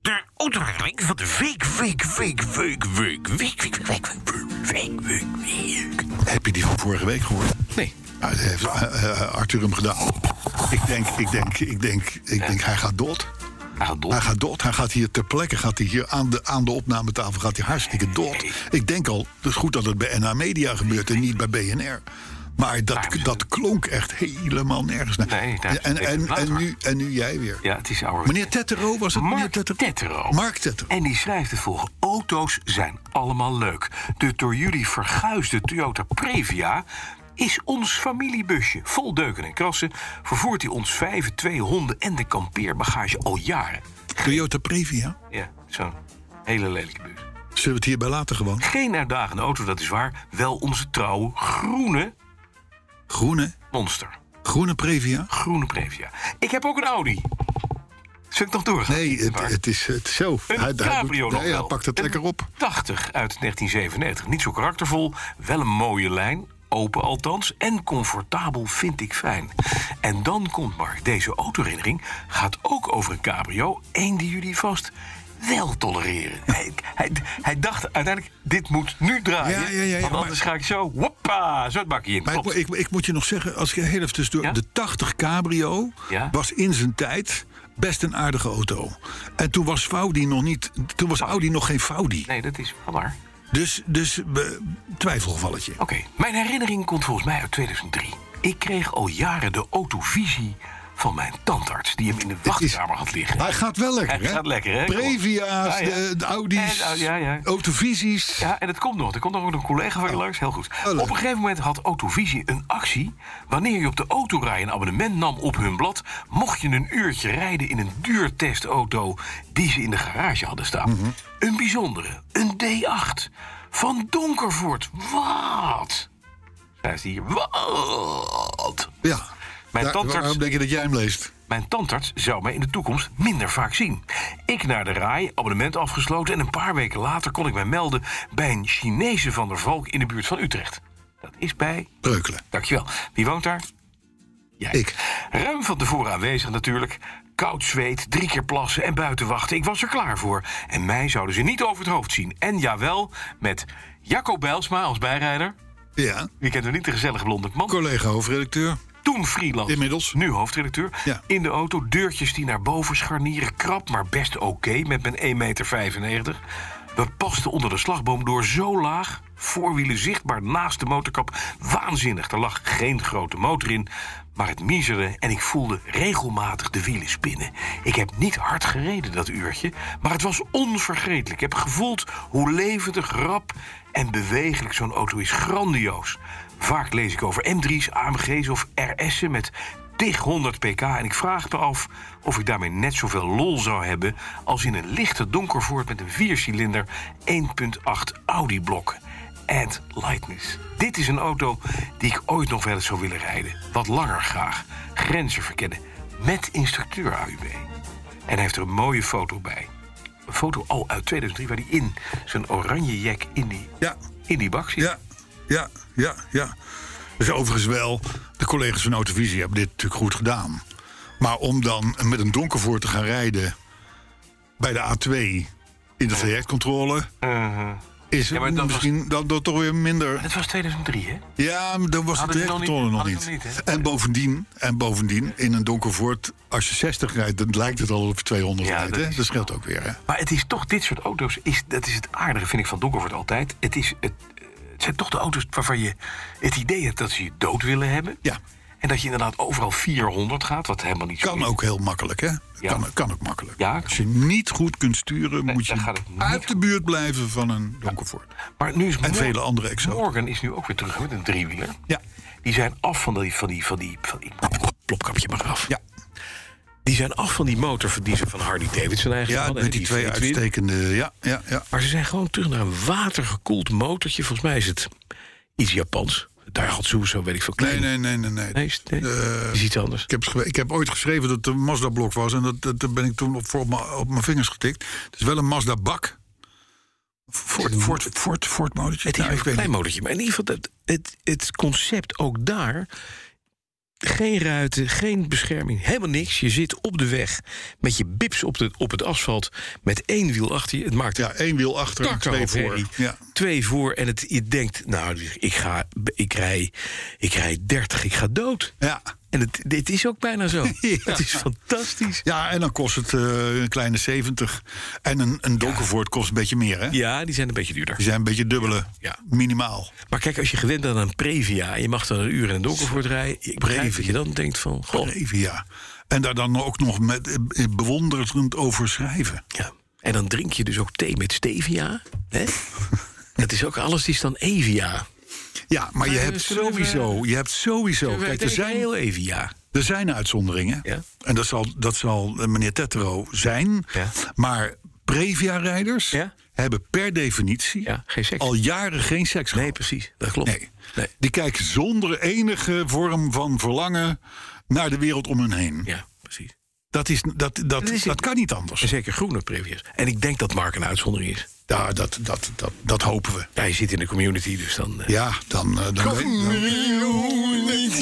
Speaker 5: de ontwikkeling van de week, week, week, week, week, week, week, week, week, week, week.
Speaker 2: Heb je die van vorige week gehoord?
Speaker 5: Nee.
Speaker 2: Nou, dat heeft eh, eh, Arthur hem gedaan. Ik denk, ik denk, ik denk, ik denk, hij gaat dood.
Speaker 5: Ah.
Speaker 2: Hij gaat dood. Hij gaat hier ter plekke, gaat hij hier aan de, aan de opnametafel, gaat hij hartstikke dood. Ik denk al, het is goed dat het bij NH Media gebeurt en niet bij BNR. Maar dat, dat klonk echt helemaal nergens naar.
Speaker 3: Nee, daar is het
Speaker 2: en, en,
Speaker 3: even
Speaker 2: en,
Speaker 3: later.
Speaker 2: nu, en nu jij weer.
Speaker 3: Ja, het is ouder.
Speaker 2: Meneer Tettero was het? meneer
Speaker 3: Mark
Speaker 2: Tettero.
Speaker 3: Tettero.
Speaker 2: Mark Tettero.
Speaker 3: En die schrijft het volgende. Auto's zijn allemaal leuk. De door jullie verguisde Toyota Previa is ons familiebusje. Vol deuken en krassen vervoert hij ons vijven, twee honden en de kampeerbagage al jaren.
Speaker 2: Toyota Previa.
Speaker 3: Ja, zo'n hele lelijke bus.
Speaker 2: Zullen we het hierbij laten gewoon?
Speaker 3: Geen uitdagende auto, dat is waar. Wel onze trouwe groene
Speaker 2: Groene,
Speaker 3: monster.
Speaker 2: groene Previa.
Speaker 3: Groene Previa. Ik heb ook een Audi. Zul ik nog doorgaan?
Speaker 2: Nee, het, het is het, is zo.
Speaker 3: Een
Speaker 2: hij,
Speaker 3: cabrio
Speaker 2: hij, nee,
Speaker 3: nog
Speaker 2: hij
Speaker 3: wel.
Speaker 2: pakt het
Speaker 3: Een
Speaker 2: lekker op.
Speaker 3: 80 uit 1997. Niet zo karaktervol, wel een mooie lijn. Open althans en comfortabel vind ik fijn. En dan komt maar deze autoherinnering gaat ook over een cabrio. Eén die jullie vast wel tolereren. Hij, hij, hij dacht uiteindelijk, dit moet nu draaien.
Speaker 2: Ja, ja, ja, ja,
Speaker 3: want
Speaker 2: maar-
Speaker 3: anders ga ik zo, woppa, zo het bakje in.
Speaker 2: Maar ik,
Speaker 3: Klopt.
Speaker 2: mo- ik, ik moet je nog zeggen, als ik heel even tussendoor...
Speaker 3: Ja?
Speaker 2: De 80 Cabrio
Speaker 3: Ja?
Speaker 2: was in zijn tijd best een aardige auto. En toen was Faudi nog niet... Toen was Audi nog geen Faudi.
Speaker 3: Nee, dat is wel waar.
Speaker 2: Dus, dus eh, twijfelgevalletje.
Speaker 3: Oké, mijn herinnering komt volgens mij uit 2003. Ik kreeg al jaren de autovisie van mijn tandarts... die hem in de wachtkamer had liggen.
Speaker 2: Hij gaat wel lekker,
Speaker 3: Hij
Speaker 2: hè?
Speaker 3: gaat lekker, hè?
Speaker 2: Previa's,
Speaker 3: Ja, ja.
Speaker 2: De, de Audi's,
Speaker 3: En, oh, ja, ja.
Speaker 2: Autovisies.
Speaker 3: Ja, en het komt nog. Er komt nog ook een collega van je langs. Heel goed.
Speaker 2: leuk.
Speaker 3: op een gegeven moment had Autovisie een actie. Wanneer je op de autorij een abonnement nam op hun blad... mocht je een uurtje rijden in een duurtestauto... die ze in de garage hadden staan. Een bijzondere. Een D8. Van Donkervoort. Wat? Zij is hier. Wat?
Speaker 2: Ja.
Speaker 3: Mijn
Speaker 2: Daar-
Speaker 3: tandarts-
Speaker 2: Waarom denk je dat jij hem leest?
Speaker 3: Mijn tandarts zou mij in de toekomst minder vaak zien. Ik naar de RAI, abonnement afgesloten... en een paar weken later kon ik mij melden... bij een Chinese van der Valk in de buurt van Utrecht. Dat is bij...
Speaker 2: Breukelen.
Speaker 3: Dankjewel. Wie woont daar? Jij.
Speaker 2: Ik.
Speaker 3: Ruim van tevoren aanwezig natuurlijk. Koud zweet, drie keer plassen en buiten wachten. Ik was er klaar voor. En mij zouden ze niet over het hoofd zien. En jawel, met Jacco Bijlsma als bijrijder.
Speaker 2: Ja.
Speaker 3: Wie kent hem niet, de gezellige blonde man.
Speaker 2: Collega hoofdredacteur.
Speaker 3: Toen freelance.
Speaker 2: Inmiddels.
Speaker 3: Nu hoofdredacteur.
Speaker 2: Ja.
Speaker 3: In de auto, deurtjes die naar boven scharnieren. Krap, maar best oké met mijn 1,95 meter. We pasten onder de slagboom door zo laag. Voorwielen zichtbaar naast de motorkap. Waanzinnig. Er lag geen grote motor in. Maar het miezerde en ik voelde regelmatig de wielen spinnen. Ik heb niet hard gereden dat uurtje, maar het was onvergetelijk. Ik heb gevoeld hoe levendig, rap en bewegelijk zo'n auto is. Grandioos. Vaak lees ik over M3's, AMG's of RS'en met tig 100 pk en ik vraag me af of ik daarmee net zoveel lol zou hebben als in een lichte donkervoort met een viercilinder 1.8 Audi blok. Add lightness. Dit is een auto die ik ooit nog wel eens zou willen rijden. Wat langer graag. Grenzen verkennen. Met instructeur AUB. En hij heeft er een mooie foto bij. Een foto al uit 2003 waar hij in zijn oranje jack in die,
Speaker 2: Ja.
Speaker 3: in die bak zit.
Speaker 2: Ja, ja, ja, ja. Dus overigens wel, de collega's van Autovisie hebben dit natuurlijk goed gedaan. Maar om dan met een donkervoort te gaan rijden bij de A2 in de trajectcontrole... is
Speaker 3: Mhm. Ja, maar dat
Speaker 2: misschien dan, dan toch weer minder...
Speaker 3: Dat was 2003, hè?
Speaker 2: Ja, maar dan was de
Speaker 3: Hadden ze nog niet-
Speaker 2: trajectcontrole nog
Speaker 3: hadden
Speaker 2: niet.
Speaker 3: ze nog niet, hè?
Speaker 2: en, bovendien, en bovendien, in een donkervoort, als je 60 rijdt... dan lijkt het al of je 200
Speaker 3: Ja,
Speaker 2: rijdt,
Speaker 3: dat
Speaker 2: hè?
Speaker 3: is-
Speaker 2: Dat scheelt ook weer, hè?
Speaker 3: Maar het is toch dit soort auto's. Is, dat is het aardige, vind ik, van Donkervoort altijd. Het, is, het, eh, het zijn toch de auto's waarvan je het idee hebt dat ze je dood willen hebben.
Speaker 2: Ja.
Speaker 3: En dat je inderdaad overal 400 gaat, wat helemaal niet zo
Speaker 2: Kan
Speaker 3: is.
Speaker 2: ook heel makkelijk, hè?
Speaker 3: Ja.
Speaker 2: Kan, kan ook makkelijk.
Speaker 3: Ja.
Speaker 2: Als je niet goed kunt sturen,
Speaker 3: Nee,
Speaker 2: moet
Speaker 3: dan gaat
Speaker 2: je
Speaker 3: het niet
Speaker 2: uit de buurt blijven van een donkervoort.
Speaker 3: Maar nu is
Speaker 2: En
Speaker 3: Mor-
Speaker 2: vele andere exoten.
Speaker 3: Morgan is nu ook weer terug met een driewieler.
Speaker 2: Ja.
Speaker 3: Die zijn af van die... Van die, van die, van die plopkapje maar af.
Speaker 2: Ja.
Speaker 3: Die zijn af van die motor die ze van Harley Davidson eigenlijk
Speaker 2: Ja,
Speaker 3: hadden.
Speaker 2: met
Speaker 3: hè,
Speaker 2: die twee
Speaker 3: V-twin.
Speaker 2: uitstekende. Ja, ja, ja.
Speaker 3: Maar ze zijn gewoon terug naar een watergekoeld motortje. Volgens mij is het iets Japans. Daar had zo weet ik veel.
Speaker 2: Nee, Eh,
Speaker 3: kleine-
Speaker 2: nee, nee, nee. nee.
Speaker 3: Nee, is- nee. is iets anders.
Speaker 2: Ik heb, geschre- ik heb ooit geschreven dat het een Mazda-blok was. En dat, dat, daar ben ik toen op, voor op, mijn- op mijn vingers getikt. Het is wel een Mazda-bak. Ford, Ford, Ford, Ford motortje.
Speaker 3: Het is
Speaker 2: Nou, ik
Speaker 3: een
Speaker 2: weet
Speaker 3: klein
Speaker 2: niet.
Speaker 3: motortje. Maar in ieder geval, dat, het, het concept ook daar... Geen ruiten, geen bescherming, helemaal niks. Je zit op de weg met je bips op, de, op het asfalt... met één wiel achter je. Het maakt
Speaker 2: Ja, één wiel achter en
Speaker 3: Kakao
Speaker 2: twee
Speaker 3: Ferry.
Speaker 2: voor. Ja.
Speaker 3: Twee voor en het, je denkt, nou, ik, ga, ik, rij, ik rij 30, ik ga dood.
Speaker 2: Ja.
Speaker 3: En het, dit is ook bijna zo. Het is fantastisch.
Speaker 2: ja, en dan kost het eh, een kleine 70. En een, een Donkervoort kost een beetje meer, hè?
Speaker 3: Ja, die zijn een beetje duurder.
Speaker 2: Die zijn een beetje dubbele,
Speaker 3: Ja.
Speaker 2: minimaal.
Speaker 3: Maar kijk, als je gewend bent aan een Previa... en je mag dan een uur in een donkervoort rijden... ik begrijp dat je dan denkt van, goh,
Speaker 2: Even, ja. En daar dan ook nog met, eh, bewonderend over schrijven.
Speaker 3: Ja. En dan drink je dus ook thee met stevia. Hè? dat is ook alles is dan Evia.
Speaker 2: Ja, maar je
Speaker 3: eh,
Speaker 2: hebt
Speaker 3: zullen we-
Speaker 2: sowieso, je hebt sowieso...
Speaker 3: Wij
Speaker 2: Kijk, er
Speaker 3: denken
Speaker 2: zijn,
Speaker 3: heel Evia.
Speaker 2: Er zijn uitzonderingen.
Speaker 3: Ja.
Speaker 2: En dat zal, dat zal eh, meneer Tettero zijn.
Speaker 3: Ja.
Speaker 2: Maar Previa-rijders
Speaker 3: Ja.
Speaker 2: hebben per definitie
Speaker 3: Ja, geen seks.
Speaker 2: al jaren geen seks
Speaker 3: Nee,
Speaker 2: gehad.
Speaker 3: precies. Dat klopt.
Speaker 2: Nee. Die kijken zonder enige vorm van verlangen naar de wereld om hun heen.
Speaker 3: Ja, precies.
Speaker 2: Dat, is, dat, dat,
Speaker 3: is-
Speaker 2: dat kan niet
Speaker 3: En
Speaker 2: anders.
Speaker 3: zeker groene previous. En ik denk dat Mark een uitzondering is.
Speaker 2: Ja, dat, dat, dat, dat hopen we.
Speaker 3: Ja, je zit in de community, dus dan... eh,
Speaker 2: Ja, dan... eh, dan,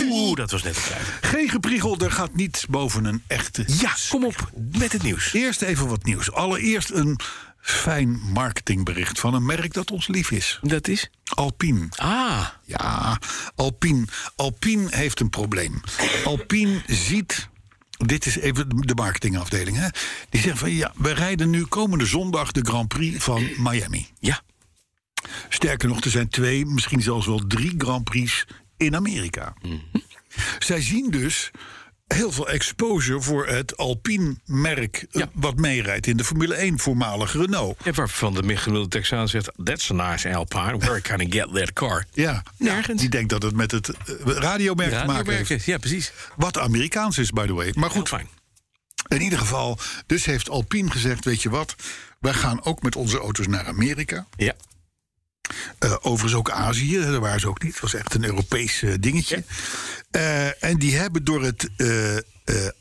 Speaker 3: Oeh, dat was net een klein.
Speaker 2: Geen gepriegel, er gaat niets boven een echte
Speaker 3: Ja, kom op met het nieuws.
Speaker 2: Eerst even wat nieuws. Allereerst een fijn marketingbericht van een merk dat ons lief is.
Speaker 3: Dat is...
Speaker 2: Alpine.
Speaker 3: Ah,
Speaker 2: Ja, Alpine. Alpine heeft een probleem. Alpine ziet... Dit is even de marketingafdeling. Hè? Die zegt van ja, we rijden nu komende zondag de Grand Prix van Miami.
Speaker 3: ja.
Speaker 2: Sterker nog, er zijn twee, misschien zelfs wel drie Grand Prix in Amerika. Zij zien dus heel veel exposure voor het Alpine-merk... eh, wat meerijdt in de Formule 1, voormalig Renault.
Speaker 3: En waarvan de gemiddelde Texaan zegt... That's a nice Alpine. Where can I get that car?
Speaker 2: Ja,
Speaker 3: Nergens.
Speaker 2: die denkt dat het met het eh, radiomerk te maken heeft.
Speaker 3: Radiomerken. Ja, precies.
Speaker 2: Wat Amerikaans is, by the way. Maar
Speaker 3: Goed,
Speaker 2: goed,
Speaker 3: fijn.
Speaker 2: in ieder geval... dus heeft Alpine gezegd, weet je wat... wij gaan ook met onze auto's naar Amerika.
Speaker 3: Ja.
Speaker 2: Eh, overigens ook Azië, hè, daar waren ze ook niet. Het was echt een Europees eh, dingetje. Eh, en die hebben door het eh, eh,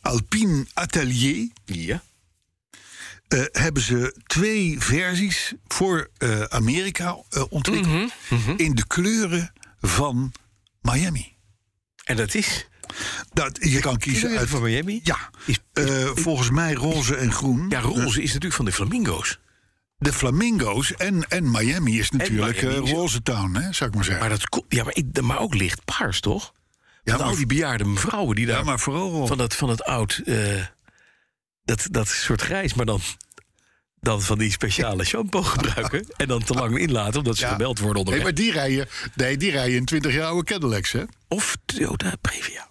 Speaker 2: Alpine Atelier...
Speaker 3: Ja.
Speaker 2: eh, hebben ze twee versies voor eh, Amerika eh, ontwikkeld...
Speaker 3: Mhm,
Speaker 2: in de kleuren van Miami.
Speaker 3: En dat is...
Speaker 2: Dat, je kan kiezen
Speaker 3: kleuren
Speaker 2: uit...
Speaker 3: van Miami?
Speaker 2: Ja,
Speaker 3: Is-
Speaker 2: eh, volgens mij roze en groen.
Speaker 3: Ja, roze is natuurlijk van de flamingo's.
Speaker 2: De flamingo's en, en Miami is natuurlijk
Speaker 3: Miami
Speaker 2: eh,
Speaker 3: is-
Speaker 2: roze town, hè, zou ik maar zeggen.
Speaker 3: Maar, dat, ko- ja, maar, ik- maar ook licht paars, toch? Ja,
Speaker 2: maar-
Speaker 3: al die bejaarde mevrouwen die daar...
Speaker 2: ja, maar vooral roze.
Speaker 3: van, dat, van het oud... eh, dat, dat soort grijs, maar dan... Dan van die speciale shampoo gebruiken. En dan te lang inlaten, omdat ze
Speaker 2: Ja.
Speaker 3: gebeld worden
Speaker 2: Nee,
Speaker 3: onderweg.
Speaker 2: maar die rijden, nee, die rijden in 20 jaar oude Cadillacs, hè?
Speaker 3: Of Toyota Previa.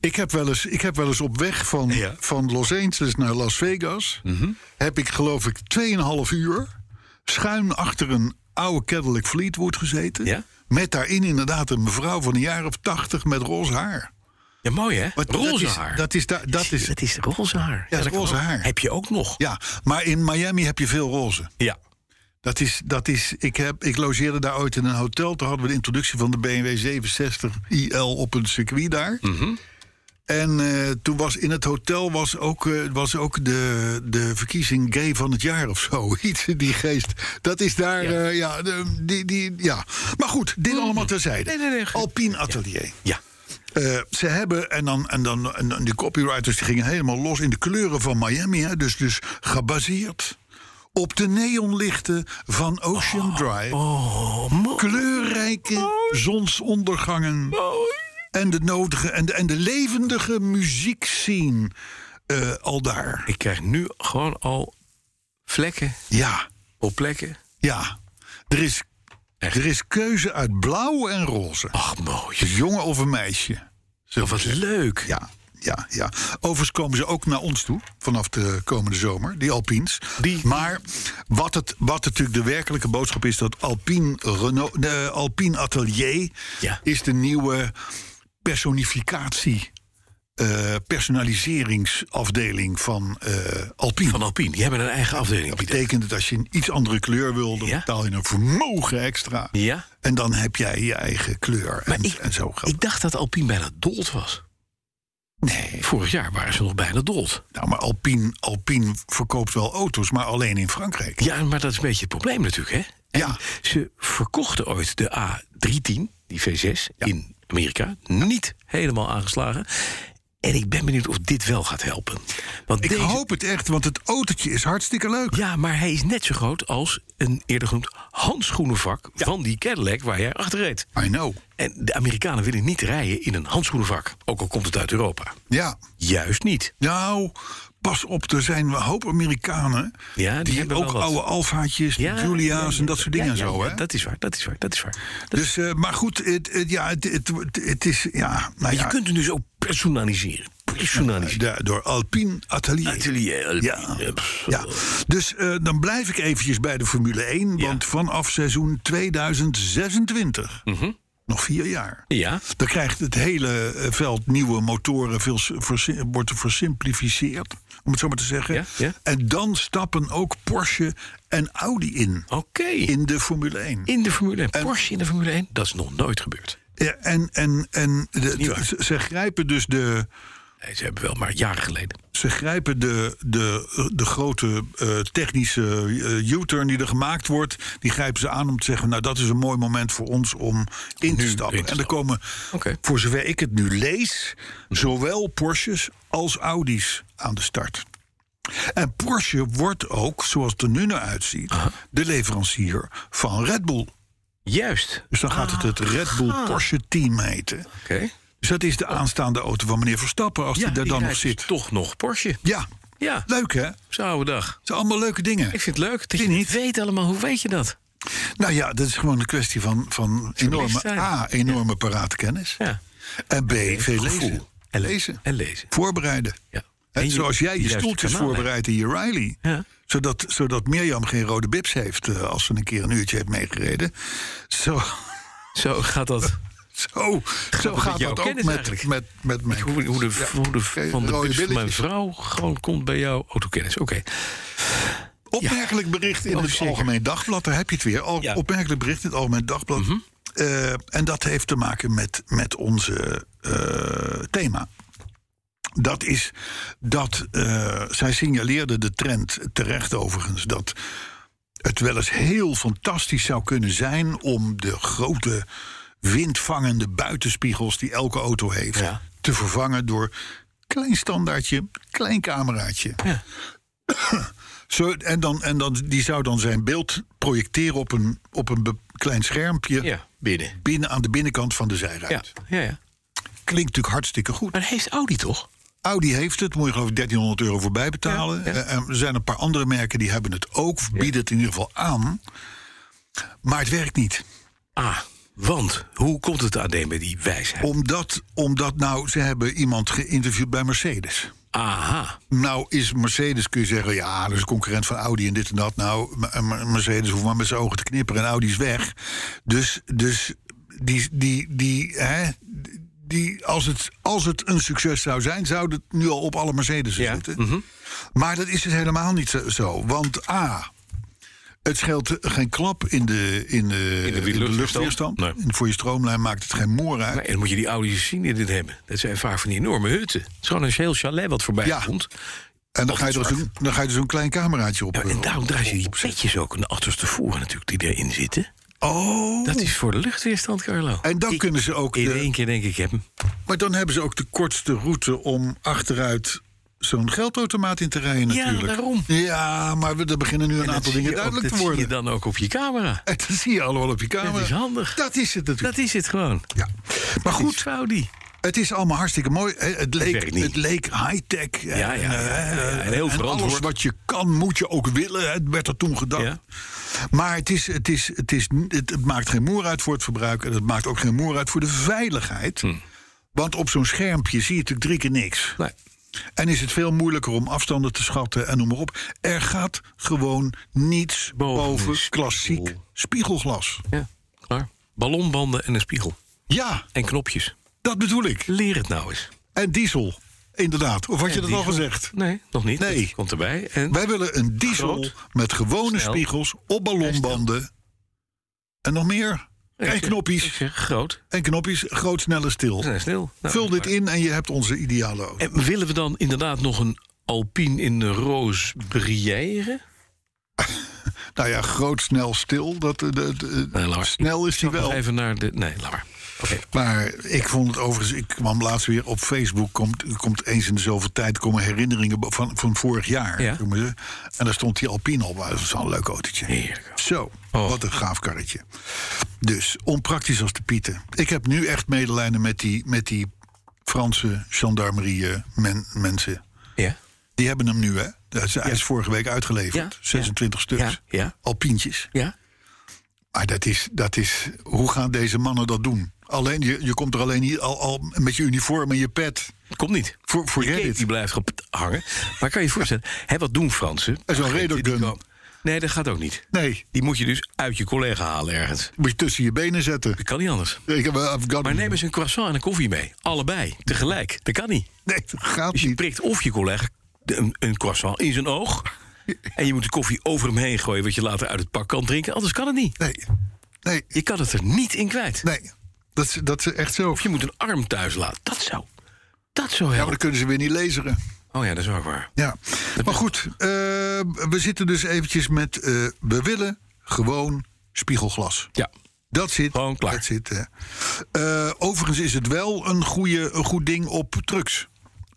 Speaker 2: Ik heb wel eens, ik heb wel eens op weg van,
Speaker 3: Ja. Mhm.
Speaker 2: van Los Angeles naar Las Vegas... heb ik geloof ik 2,5 uur schuin achter een oude Cadillac Fleetwood gezeten...
Speaker 3: Ja?
Speaker 2: met daarin inderdaad een mevrouw van een jaar of 80 met roze haar.
Speaker 3: Ja, mooi hè?
Speaker 2: Wat-
Speaker 3: roze
Speaker 2: dat is,
Speaker 3: haar.
Speaker 2: Dat is, da- dat is,
Speaker 3: Het is roze haar.
Speaker 2: dat
Speaker 3: dat
Speaker 2: roze
Speaker 3: kan ook.
Speaker 2: haar.
Speaker 3: Heb je ook nog.
Speaker 2: ja, maar in Miami heb je veel roze.
Speaker 3: Ja.
Speaker 2: Dat is, dat is, ik, heb, ik logeerde daar ooit in een hotel. Toen hadden we de introductie van de BMW 760 IL op een circuit daar.
Speaker 3: Mhm.
Speaker 2: En eh, toen was in het hotel was ook, eh, was ook de, de verkiezing gay van het jaar of zo. Iets in die geest. Dat is daar, ja. ja, de- die, die, ja. Maar goed, dit allemaal terzijde.
Speaker 3: Mm. Nee, nee, nee, goed.
Speaker 2: Alpine Atelier.
Speaker 3: Ja.
Speaker 2: Eh, ze hebben, en dan, en dan en, dan die copywriters die gingen helemaal los in de kleuren van Miami. Hè, dus, dus gebaseerd op de neonlichten van Ocean Drive. kleurrijke zonsondergangen. En de nodige en de, en de levendige muziekscene eh, al daar.
Speaker 3: Ik krijg nu gewoon al vlekken
Speaker 2: Ja,
Speaker 3: op plekken.
Speaker 2: ja. Er is,
Speaker 3: Echt?
Speaker 2: er is keuze uit blauw en roze.
Speaker 3: Ach, mooi.
Speaker 2: Een jongen of een meisje.
Speaker 3: Oh, wat leuk.
Speaker 2: Ja, ja, ja. Overigens komen ze ook naar ons toe vanaf de komende zomer, die Alpines.
Speaker 3: Die-
Speaker 2: Maar wat, het, wat natuurlijk de werkelijke boodschap is, dat Alpine, Renault, de Alpine Atelier
Speaker 3: Ja.
Speaker 2: is de nieuwe personificatie eh, personaliseringsafdeling van eh, Alpine.
Speaker 3: Van Alpine, die hebben een eigen afdeling.
Speaker 2: dat
Speaker 3: Pieter.
Speaker 2: betekent dat als je een iets andere kleur wil, dan
Speaker 3: Ja.
Speaker 2: betaal je een vermogen extra.
Speaker 3: Ja.
Speaker 2: En dan heb jij je eigen kleur en,
Speaker 3: ik-
Speaker 2: en zo gaat
Speaker 3: Ik dacht dat Alpine bijna dood was.
Speaker 2: Nee.
Speaker 3: Vorig jaar waren ze nog bijna dood.
Speaker 2: Nou, maar Alpine, Alpine verkoopt wel auto's, maar alleen in Frankrijk.
Speaker 3: Ja, maar dat is een beetje het probleem natuurlijk, hè? En
Speaker 2: Ja.
Speaker 3: Ze verkochten ooit de A310, die V6, in Amerika. Niet helemaal aangeslagen. En ik ben benieuwd of dit wel gaat helpen. Want
Speaker 2: Ik
Speaker 3: deze-
Speaker 2: hoop het echt, want het autootje is hartstikke leuk.
Speaker 3: Ja, maar hij is net zo groot als een eerder genoemd handschoenenvak... van die Cadillac waar jij achter reed.
Speaker 2: I know.
Speaker 3: En de Amerikanen willen niet rijden in een handschoenenvak. Ook al komt het uit Europa.
Speaker 2: Ja.
Speaker 3: Juist niet.
Speaker 2: Nou, pas op, er zijn een hoop Amerikanen...
Speaker 3: Ja, die
Speaker 2: die,
Speaker 3: hebben wel
Speaker 2: ook
Speaker 3: wat.
Speaker 2: oude Alfaatjes, Julia's en dat soort dingen
Speaker 3: ja,
Speaker 2: en zo,
Speaker 3: ja,
Speaker 2: hè?
Speaker 3: Dat is waar, dat is waar, dat is waar. Dat
Speaker 2: dus, eh, maar goed, het, het- ja, het, het, het is... Ja, nou
Speaker 3: Je
Speaker 2: ja,
Speaker 3: kunt hem dus ook personaliseren. Personaliseren.
Speaker 2: da- door Alpine Atelier.
Speaker 3: Atelier.
Speaker 2: Ja.
Speaker 3: eh, pff.
Speaker 2: Ja, dus eh, dan blijf ik eventjes bij de Formule 1, want vanaf seizoen 2026,
Speaker 3: Mhm.
Speaker 2: nog vier jaar,
Speaker 3: Ja.
Speaker 2: dan krijgt het hele eh, veld nieuwe motoren, veel s- versi- wordt versimplificeerd, om het zo maar te zeggen.
Speaker 3: Ja, ja.
Speaker 2: En dan stappen ook Porsche en Audi in,
Speaker 3: Oké. In,
Speaker 2: in de Formule 1.
Speaker 3: de Formule 1. Porsche in de Formule 1. Dat is nog nooit gebeurd.
Speaker 2: Ja, en en, en de-
Speaker 3: niet waar.
Speaker 2: ze- ze grijpen dus de,
Speaker 3: Nee, ze hebben wel maar jaren geleden.
Speaker 2: Ze grijpen de, de, de grote eh, technische eh, U-turn die er gemaakt wordt. Die grijpen ze aan om te zeggen: Nou, dat is een mooi moment voor ons om in te stappen.
Speaker 3: in te
Speaker 2: en er
Speaker 3: stappen.
Speaker 2: komen,
Speaker 3: Oké.
Speaker 2: voor zover ik het nu lees, zowel Porsches als Audi's aan de start. En Porsche wordt ook, zoals het er nu naar uitziet, de leverancier van Red Bull.
Speaker 3: Juist.
Speaker 2: Dus dan gaat het het
Speaker 3: Ah.
Speaker 2: Red Bull Porsche team heten.
Speaker 3: Oké.
Speaker 2: Dus dat is de aanstaande auto van meneer Verstappen, als hij daar
Speaker 3: Oh. die
Speaker 2: dan nog
Speaker 3: rijdt dus
Speaker 2: zit.
Speaker 3: Toch nog Porsche.
Speaker 2: Ja,
Speaker 3: Ja.
Speaker 2: leuk hè?
Speaker 3: Zouwe dag.
Speaker 2: Het zijn allemaal leuke dingen.
Speaker 3: Ik vind het leuk dat je niet weet allemaal. Hoe weet je dat?
Speaker 2: Nou ja, dat is gewoon een kwestie van, van enorme,
Speaker 3: zijn.
Speaker 2: A, enorme parate kennis.
Speaker 3: Ja.
Speaker 2: En B, veel
Speaker 3: gevoel.
Speaker 2: lezen.
Speaker 3: En le-
Speaker 2: lezen.
Speaker 3: en lezen.
Speaker 2: Voorbereiden.
Speaker 3: Ja.
Speaker 2: Hè,
Speaker 3: En je-
Speaker 2: zoals jij
Speaker 3: de
Speaker 2: je
Speaker 3: juiste
Speaker 2: stoeltjes
Speaker 3: kanalen.
Speaker 2: voorbereidt in je Riley.
Speaker 3: Ja.
Speaker 2: Zodat, zodat Mirjam geen rode bips heeft eh, als ze een keer een uurtje heeft meegereden. Zo,
Speaker 3: Zo gaat dat.
Speaker 2: zo, zo
Speaker 3: met
Speaker 2: gaat
Speaker 3: jouw
Speaker 2: dat ook
Speaker 3: kennis
Speaker 2: met,
Speaker 3: eigenlijk.
Speaker 2: met, met mijn
Speaker 3: Hoe, hoe de,
Speaker 2: Ja,
Speaker 3: hoe de
Speaker 2: geen
Speaker 3: van de
Speaker 2: rode
Speaker 3: bus van mijn
Speaker 2: billetjes.
Speaker 3: vrouw gewoon komt bij jou autokennis. Oké.
Speaker 2: Opmerkelijk bericht in
Speaker 3: Oh,
Speaker 2: het
Speaker 3: zeker.
Speaker 2: Algemeen Dagblad, daar heb je het weer. Al,
Speaker 3: Ja. Mhm.
Speaker 2: Opmerkelijk bericht in het Algemeen Dagblad. Eh, en dat heeft te maken met, met onze eh, thema. Dat is dat eh, zij signaleerde de trend, terecht overigens, dat het wel eens heel fantastisch zou kunnen zijn om de grote windvangende buitenspiegels die elke auto heeft
Speaker 3: Ja.
Speaker 2: te vervangen door klein standaardje, klein cameraatje.
Speaker 3: Ja.
Speaker 2: Zo, en dan, en dan, die zou dan zijn beeld projecteren op een, op een be- klein schermpje
Speaker 3: Ja. Binnen.
Speaker 2: binnen aan de binnenkant van de zijruit.
Speaker 3: Ja. ja, ja.
Speaker 2: Klinkt natuurlijk hartstikke goed.
Speaker 3: Maar heeft Audi toch?
Speaker 2: Audi heeft het, moet je geloof ik 1300 euro voor bijbetalen.
Speaker 3: Ja, ja.
Speaker 2: Eh, Er zijn een paar andere merken die hebben het ook, of bieden het in ieder geval aan. Maar het werkt niet.
Speaker 3: Ah, want hoe komt het AD met die wijsheid?
Speaker 2: Omdat, omdat nou, ze hebben iemand geïnterviewd bij Mercedes.
Speaker 3: Aha.
Speaker 2: Nou is Mercedes, kun je zeggen, ja, dat is een concurrent van Audi en dit en dat. Nou, M- M- Mercedes hoeft maar met zijn ogen te knipperen en Audi is weg. Dus, dus die, die, die, hè, die, als, het, als het een succes zou zijn, zou het nu al op alle Mercedes
Speaker 3: Ja, mhm.
Speaker 2: zitten. Maar dat is dus helemaal niet zo- zo. Want A, het scheelt geen klap in de, in de, in
Speaker 3: de luchtweerstand.
Speaker 2: luchtweerstand.
Speaker 3: Nee.
Speaker 2: En voor je stroomlijn maakt het geen moer uit.
Speaker 3: Maar dan moet je die Audi's zien die dit hebben. Dat zijn vaak van die enorme hutten. Het is gewoon een heel chalet wat voorbij
Speaker 2: Ja.
Speaker 3: komt.
Speaker 2: en dan ga, je er
Speaker 3: het zwart.
Speaker 2: zo'n- dan ga je er zo'n klein cameraatje op.
Speaker 3: Ja, en
Speaker 2: eh,
Speaker 3: daarom draaien ze die
Speaker 2: opzetten.
Speaker 3: petjes ook aan de achterste voren natuurlijk die erin zitten.
Speaker 2: Oh.
Speaker 3: Dat is voor de luchtweerstand, Carlo.
Speaker 2: En dan kunnen ze ook.
Speaker 3: In
Speaker 2: de-
Speaker 3: één keer denk ik, ik heb hem.
Speaker 2: maar dan hebben ze ook de kortste route om achteruit zo'n geldautomaat in te rijden,
Speaker 3: Ja,
Speaker 2: natuurlijk.
Speaker 3: daarom.
Speaker 2: Ja, maar we, er beginnen nu een
Speaker 3: En dat
Speaker 2: aantal
Speaker 3: zie
Speaker 2: dingen
Speaker 3: je ook-
Speaker 2: duidelijk
Speaker 3: dat
Speaker 2: te worden.
Speaker 3: zie je dan ook op je camera.
Speaker 2: En dat zie je allemaal op je camera.
Speaker 3: is handig.
Speaker 2: Dat is het natuurlijk.
Speaker 3: Dat is het gewoon.
Speaker 2: Ja. Maar
Speaker 3: Goed,
Speaker 2: goed,
Speaker 3: Audi.
Speaker 2: het is allemaal hartstikke mooi. Hè, Het leek,
Speaker 3: werkt niet.
Speaker 2: het leek high-tech. en,
Speaker 3: ja, ja,
Speaker 2: eh,
Speaker 3: ja, ja. En heel
Speaker 2: alles
Speaker 3: verantwoord.
Speaker 2: wat je kan, moet je ook willen. Het werd er toen gedacht.
Speaker 3: Ja.
Speaker 2: Maar het, is, het, is, het, is, n- het, het maakt geen moer uit voor het verbruik. En het maakt ook geen moer uit voor de veiligheid.
Speaker 3: Hm.
Speaker 2: Want op zo'n schermpje zie je natuurlijk drie keer niks.
Speaker 3: Nee.
Speaker 2: En is het veel moeilijker om afstanden te schatten en noem maar op. Er gaat gewoon niets
Speaker 3: Boven
Speaker 2: boven,
Speaker 3: de spiegel.
Speaker 2: klassiek spiegelglas.
Speaker 3: Ja, klaar. Ballonbanden en een spiegel.
Speaker 2: Ja,
Speaker 3: En knopjes.
Speaker 2: dat bedoel ik.
Speaker 3: Leer het nou eens.
Speaker 2: En diesel. Inderdaad. Of had je dat al gezegd?
Speaker 3: Nee, nog niet.
Speaker 2: Nee.
Speaker 3: Dat Komt erbij. En
Speaker 2: Wij willen een diesel
Speaker 3: Groot.
Speaker 2: met gewone
Speaker 3: Snel.
Speaker 2: spiegels op ballonbanden. En nog meer. En
Speaker 3: Ik
Speaker 2: knoppies.
Speaker 3: zeg groot.
Speaker 2: En knoppies. Groot, snelle, stil.
Speaker 3: We zijn stil. Nou,
Speaker 2: Vul dit
Speaker 3: maar-
Speaker 2: in en je hebt onze ideale auto.
Speaker 3: En willen we dan inderdaad nog een Alpine in de roos brilleren?
Speaker 2: Nou ja, groot, snel, stil. Dat, eh, dat, eh,
Speaker 3: Nee, laat maar.
Speaker 2: snel is die wel.
Speaker 3: Nog Even naar de... Nee, laat maar. Oké.
Speaker 2: Maar ik vond het overigens, ik kwam laatst weer op Facebook. Komt, komt eens in de zoveel tijd komen herinneringen bo- van, van vorig jaar.
Speaker 3: Ja.
Speaker 2: noemen ze. En daar stond die Alpine op. Dat was wel een leuk autootje.
Speaker 3: Heerlijk.
Speaker 2: Zo,
Speaker 3: Oh.
Speaker 2: wat een gaaf karretje. Dus, onpraktisch als de pieten. Ik heb nu echt medelijden met die, met die Franse gendarmerie eh, men, mensen.
Speaker 3: Ja.
Speaker 2: Die hebben hem nu, hè? Dat is, Hij is vorige week uitgeleverd.
Speaker 3: Ja,
Speaker 2: 26 stuks.
Speaker 3: Ja, ja.
Speaker 2: Alpientjes.
Speaker 3: Ja?
Speaker 2: Maar Ah, dat is, dat is, hoe gaan deze mannen dat doen? Alleen, je, je komt er alleen hier al, al met je uniform en je pet.
Speaker 3: Komt niet.
Speaker 2: Voor, voor
Speaker 3: Die
Speaker 2: Reddit.
Speaker 3: cake die blijft gewoon ptt hangen. Maar kan je je voorstellen, hè, wat doen Fransen?
Speaker 2: En zo'n
Speaker 3: Agenten die
Speaker 2: redogun.
Speaker 3: komen- Nee, dat gaat ook niet.
Speaker 2: Nee,
Speaker 3: Die moet je dus uit je collega halen ergens.
Speaker 2: moet je tussen je benen zetten.
Speaker 3: Dat kan niet anders.
Speaker 2: Ik heb, eh, I've got
Speaker 3: Maar
Speaker 2: him.
Speaker 3: neem eens een croissant en een koffie mee. Allebei, tegelijk. Dat kan niet.
Speaker 2: Nee, dat gaat
Speaker 3: Dus je
Speaker 2: niet.
Speaker 3: prikt of je collega de- een, een croissant in zijn oog... en je moet de koffie over hem heen gooien... wat je later uit het pak kan drinken. Anders kan het niet.
Speaker 2: Nee, nee,
Speaker 3: Je kan het er niet in kwijt.
Speaker 2: nee. Dat, is- dat is echt zo.
Speaker 3: Of je moet een arm thuis laten. Dat zou, dat zou
Speaker 2: Ja, maar
Speaker 3: helpen.
Speaker 2: dan kunnen ze weer niet lezeren.
Speaker 3: Oh ja, dat is ook waar.
Speaker 2: Ja, maar goed, eh, we zitten dus eventjes met... eh, we willen gewoon spiegelglas.
Speaker 3: Ja.
Speaker 2: Dat zit.
Speaker 3: Gewoon klaar.
Speaker 2: Dat zit eh. Eh, overigens is het wel een, goede, een goed ding op trucks.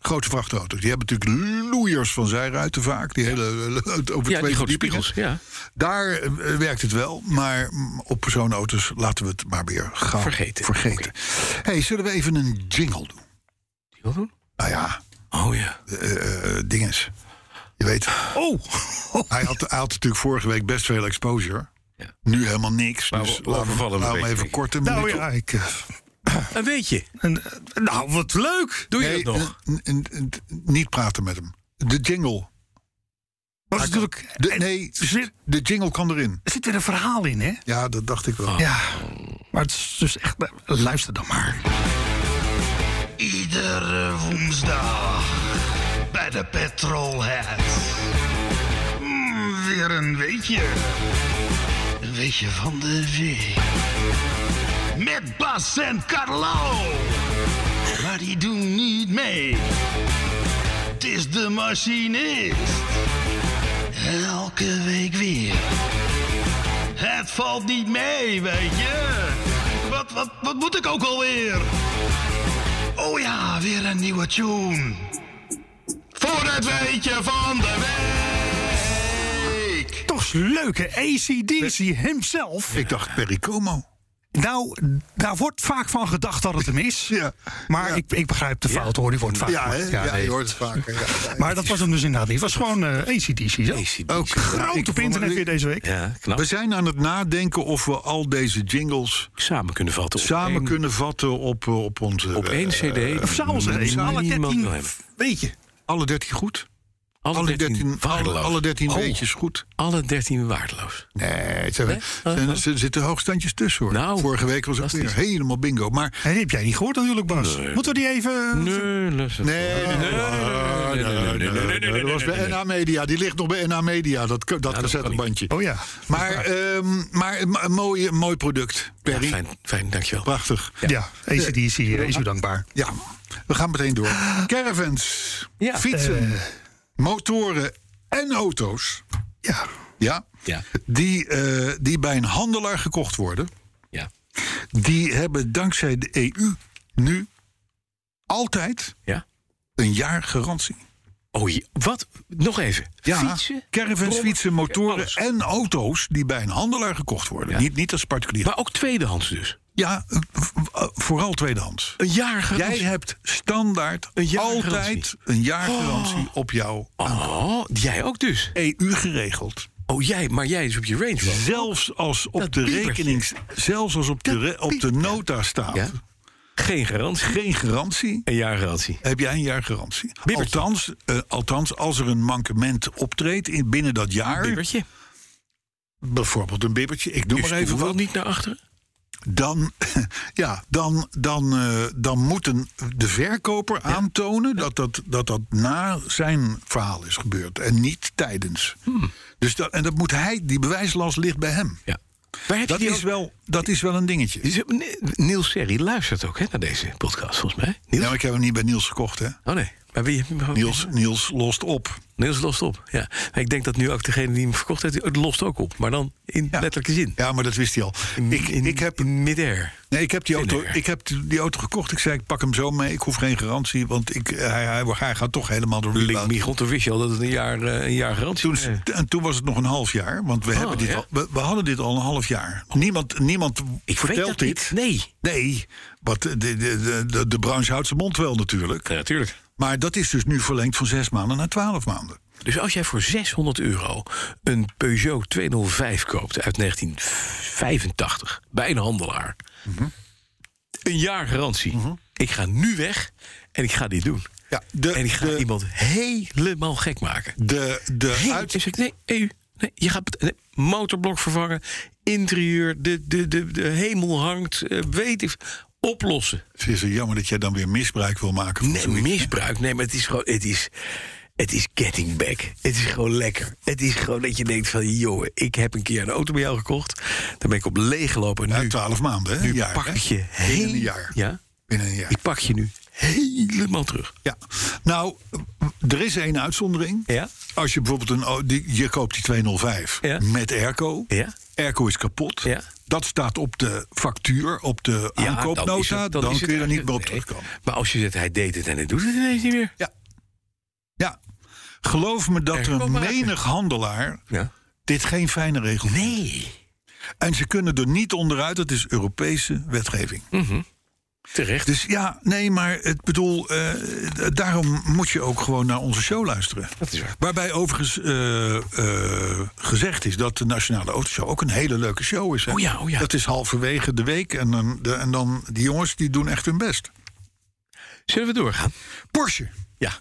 Speaker 2: Grote vrachtauto's. Die hebben natuurlijk loeiers van zijruiten vaak. Die hele, eh, over twee
Speaker 3: Ja, die grote
Speaker 2: verdiepingen.
Speaker 3: spiegels. Ja.
Speaker 2: Daar eh, werkt het wel. Maar mm, op personenauto's laten we het maar weer gaan
Speaker 3: Vergeten.
Speaker 2: vergeten. hey, zullen we even een jingle doen?
Speaker 3: Die wil doen?
Speaker 2: Nou ja,
Speaker 3: Oh ja.
Speaker 2: eh, eh, dinges. Je weet,
Speaker 3: Oh!
Speaker 2: hij had, hij had natuurlijk vorige week best veel exposure.
Speaker 3: Ja.
Speaker 2: Nu helemaal niks.
Speaker 3: Maar we
Speaker 2: dus laten we
Speaker 3: overvallen hem
Speaker 2: laten we
Speaker 3: een
Speaker 2: hem
Speaker 3: beetje.
Speaker 2: even kort een
Speaker 4: Nou
Speaker 2: minuut
Speaker 4: ja,
Speaker 2: op-
Speaker 4: ik, eh,
Speaker 3: Een weetje.
Speaker 4: en, eh, nou, wat leuk!
Speaker 3: Doe je
Speaker 2: Nee,
Speaker 3: dat nog?
Speaker 2: n- n- n- n- niet praten met hem. De jingle.
Speaker 4: Was natuurlijk,
Speaker 2: De, nee,
Speaker 4: er zit-
Speaker 2: de jingle kan erin.
Speaker 4: er zit weer een verhaal in, hè?
Speaker 2: Ja, dat dacht ik wel.
Speaker 3: Oh,
Speaker 4: Ja, maar het is dus echt... Luister dan maar.
Speaker 6: Iedere eh, woensdag bij de Petrolhead. Mm, weer een weetje. Een weetje van de week. Met Bas en Carlo. Maar die doen niet mee. Het is de machinist. Elke week weer. Het valt niet mee, weet je. Wat, wat, wat moet ik ook alweer? Oh ja, weer een nieuwe tune. Voor het weetje van de week.
Speaker 4: Toch is leuk, hè? ACDC himself.
Speaker 2: Ik dacht Perry Como.
Speaker 4: Nou, daar wordt vaak van gedacht dat het hem is.
Speaker 2: Ja,
Speaker 4: Maar
Speaker 2: ja.
Speaker 4: Ik, ik begrijp de fout, hoor. Die wordt vaak
Speaker 2: Ja, hè?
Speaker 4: gemaakt.
Speaker 2: ja,
Speaker 4: nee.
Speaker 2: je hoort het vaker. Ja.
Speaker 4: Maar dat was hem dus inderdaad niet. Het was gewoon eh ACDC. zelf.
Speaker 2: Ook
Speaker 4: Groot op internet weer deze week.
Speaker 3: Ja, knap.
Speaker 2: We zijn aan het nadenken of we al deze jingles
Speaker 3: Samen kunnen vatten. op
Speaker 2: samen
Speaker 3: één-
Speaker 2: kunnen vatten op, eh, op onze...
Speaker 3: Op
Speaker 2: eh,
Speaker 3: één cd.
Speaker 4: Of s'avonds er één. Alle
Speaker 3: niemand wil
Speaker 4: 13.
Speaker 3: hebben.
Speaker 4: Weet je.
Speaker 2: eh, alle dertien goed?
Speaker 3: Alle
Speaker 2: Alle dertien,
Speaker 3: dertien
Speaker 2: alle,
Speaker 3: waardeloos.
Speaker 2: alle dertien
Speaker 3: Oh,
Speaker 2: weetjes goed?
Speaker 3: Alle dertien waardeloos.
Speaker 2: Nee, het zijn,
Speaker 3: Eh,
Speaker 2: zijn- er zitten hoogstandjes tussen hoor.
Speaker 3: Nou,
Speaker 2: Vorige week was het weer
Speaker 3: fantastisch.
Speaker 2: helemaal bingo. Maar
Speaker 4: Hey, die heb jij niet gehoord natuurlijk, Bas. Moeten we die even...
Speaker 3: Nee, luister.
Speaker 2: Nee, nee, nee, nee, nee, nee, nee, nee, nee, Dat was bij NA Media. Die ligt nog bij NA Media, dat, dat cassettebandje.
Speaker 4: Oh ja.
Speaker 2: Maar, ehm, maar een, een mooi, een mooi product, Perry.
Speaker 3: Fijn, fijn, dankjewel.
Speaker 2: Prachtig.
Speaker 4: Ja, ACDC eh, is u dankbaar.
Speaker 2: Ja, we gaan meteen door. Caravans,
Speaker 3: Ja.
Speaker 2: fietsen, motoren en auto's.
Speaker 4: Ja.
Speaker 2: Ja.
Speaker 3: Ja.
Speaker 2: Die, eh, die bij een handelaar gekocht worden.
Speaker 3: Ja.
Speaker 2: Die hebben dankzij de EU nu altijd
Speaker 3: ja.
Speaker 2: een jaar garantie.
Speaker 3: Oh, je- wat? Nog even. Fietsen?
Speaker 2: caravans,
Speaker 3: brommen,
Speaker 2: fietsen, motoren
Speaker 3: alles.
Speaker 2: en auto's die bij een handelaar gekocht worden.
Speaker 3: Ja.
Speaker 2: Niet, niet als particulier.
Speaker 3: Maar ook tweedehands dus.
Speaker 2: Ja, eh, v- eh, vooral tweedehands.
Speaker 3: Een jaar
Speaker 2: Jij
Speaker 3: garantie.
Speaker 2: hebt standaard
Speaker 3: Een jaar
Speaker 2: altijd
Speaker 3: garantie.
Speaker 2: een jaargarantie op jou.
Speaker 3: Oh, jij ook dus.
Speaker 2: EU geregeld.
Speaker 3: Oh, jij, maar jij is op je Range Rover.
Speaker 2: Zelfs als op
Speaker 3: Dat
Speaker 2: de
Speaker 3: piepertje.
Speaker 2: rekenings, zelfs als op de, re- op de nota staat,
Speaker 3: Ja. Geen garantie.
Speaker 2: geen garantie,
Speaker 3: Een jaar garantie.
Speaker 2: heb jij een jaar garantie.
Speaker 3: Bibbertje.
Speaker 2: Althans, eh, althans, als er een mankement optreedt in, binnen dat jaar,
Speaker 3: Bibbertje.
Speaker 2: bijvoorbeeld een bibbertje, ik noem
Speaker 3: Je
Speaker 2: maar even
Speaker 3: stoel wil
Speaker 2: wat.
Speaker 3: niet naar achteren.
Speaker 2: dan, ja, dan, dan, eh, dan moeten de verkoper aantonen dat dat, dat dat na zijn verhaal is gebeurd en niet tijdens.
Speaker 3: Hmm.
Speaker 2: Dus dat, en dat moet hij, die bewijslast ligt bij hem.
Speaker 3: Ja. Waar heb
Speaker 2: Dat,
Speaker 3: je die
Speaker 2: is
Speaker 3: ook-
Speaker 2: wel, dat is wel een dingetje.
Speaker 3: Die is- Ni- Niels Serri luistert ook hè, naar deze podcast, volgens mij. Niels?
Speaker 2: Ja, maar ik heb hem niet bij Niels gekocht, hè?
Speaker 3: Oh nee, maar wie...
Speaker 2: Niels, Niels lost op.
Speaker 3: Niels lost op, ja. Maar ik denk dat nu ook degene die hem verkocht heeft, het lost ook op. Maar dan in
Speaker 2: Ja.
Speaker 3: letterlijke zin.
Speaker 2: Ja, maar dat wist hij al.
Speaker 3: In,
Speaker 2: Ik,
Speaker 3: in-
Speaker 2: ik, heb,
Speaker 3: in midair.
Speaker 2: nee, ik, heb die auto,
Speaker 3: Vinegar.
Speaker 2: ik heb die auto gekocht. Ik zei, ik pak hem zo mee. Ik hoef geen garantie, want ik, hij, hij, hij gaat toch helemaal door
Speaker 3: Link Michel, toen wist je al dat het een jaar, eh, een jaar garantie
Speaker 2: Toen,
Speaker 3: was.
Speaker 2: En toen was het nog een half jaar, want we, hebben dit
Speaker 3: Oh, ja.
Speaker 2: al, we, we hadden dit al een half jaar. Niemand, niemand
Speaker 3: Ik weet
Speaker 2: vertelt
Speaker 3: dat
Speaker 2: dit.
Speaker 3: niet. Nee.
Speaker 2: Nee, want de, de, de, de, de branche houdt zijn mond wel natuurlijk.
Speaker 3: Ja, natuurlijk.
Speaker 2: Maar dat is dus nu verlengd van zes maanden naar twaalf maanden.
Speaker 3: Dus als jij voor 600 euro een Peugeot 205 koopt uit 1985 bij een handelaar.
Speaker 2: Mhm.
Speaker 3: Een jaar garantie. Ik ga nu weg en ik ga dit doen.
Speaker 2: Ja, de-
Speaker 3: en ik ga
Speaker 2: de-
Speaker 3: iemand helemaal gek maken.
Speaker 2: De, de
Speaker 3: Hey,
Speaker 2: uit...
Speaker 3: ik zeg, nee, EU. Nee, je gaat bet- nee, motorblok vervangen, interieur, de, de, de, de hemel hangt, eh, weet ik. Oplossen.
Speaker 2: Het is zo jammer dat jij dan weer misbruik wil maken van
Speaker 3: Nee,
Speaker 2: zoiets.
Speaker 3: misbruik. Nee, maar het is gewoon. Het is, het is getting back. Het is gewoon lekker. Het is gewoon dat je denkt van... joh, ik heb een keer een auto bij jou gekocht. Daar ben ik op leeggelopen.
Speaker 2: Ja,
Speaker 3: Nu,
Speaker 2: twaalf maanden, hè?
Speaker 3: nu
Speaker 2: Een jaar,
Speaker 3: pak
Speaker 2: hè?
Speaker 3: ik je
Speaker 2: Binnen
Speaker 3: heel-
Speaker 2: een jaar.
Speaker 3: Ja?
Speaker 2: Binnen een jaar.
Speaker 3: Ik pak je nu helemaal terug.
Speaker 2: Ja. Nou, er is één uitzondering.
Speaker 3: Ja?
Speaker 2: Als je bijvoorbeeld een... o- Die, je koopt die 205
Speaker 3: Ja.
Speaker 2: met airco.
Speaker 3: Ja?
Speaker 2: Airco is kapot.
Speaker 3: Ja.
Speaker 2: Dat staat op de factuur, op de
Speaker 3: Ja, dan is
Speaker 2: aankoopnota.
Speaker 3: het-
Speaker 2: Dan,
Speaker 3: is het
Speaker 2: kun je er niet
Speaker 3: eigenlijk-
Speaker 2: meer op
Speaker 3: nee.
Speaker 2: terugkomen.
Speaker 3: Maar als je zegt, hij deed het en hij doet het ineens niet meer.
Speaker 2: Ja. Ja. Geloof me dat
Speaker 3: Airco
Speaker 2: er een
Speaker 3: maar uit.
Speaker 2: menig handelaar
Speaker 3: Ja.
Speaker 2: dit geen fijne regel vindt.
Speaker 3: Nee.
Speaker 2: En ze kunnen er niet onderuit. Dat is Europese wetgeving.
Speaker 3: Terecht.
Speaker 2: Dus ja, nee, maar het bedoel, eh, d- daarom moet je ook gewoon naar onze show luisteren.
Speaker 3: Dat is waar.
Speaker 2: Waarbij overigens eh, eh, gezegd is dat de Nationale Autoshow ook een hele leuke show is. hè?
Speaker 3: Oh ja, oh ja.
Speaker 2: Dat is halverwege de week en, dan de, en dan die jongens die doen echt hun best.
Speaker 3: Zullen we doorgaan?
Speaker 2: Porsche.
Speaker 3: Ja.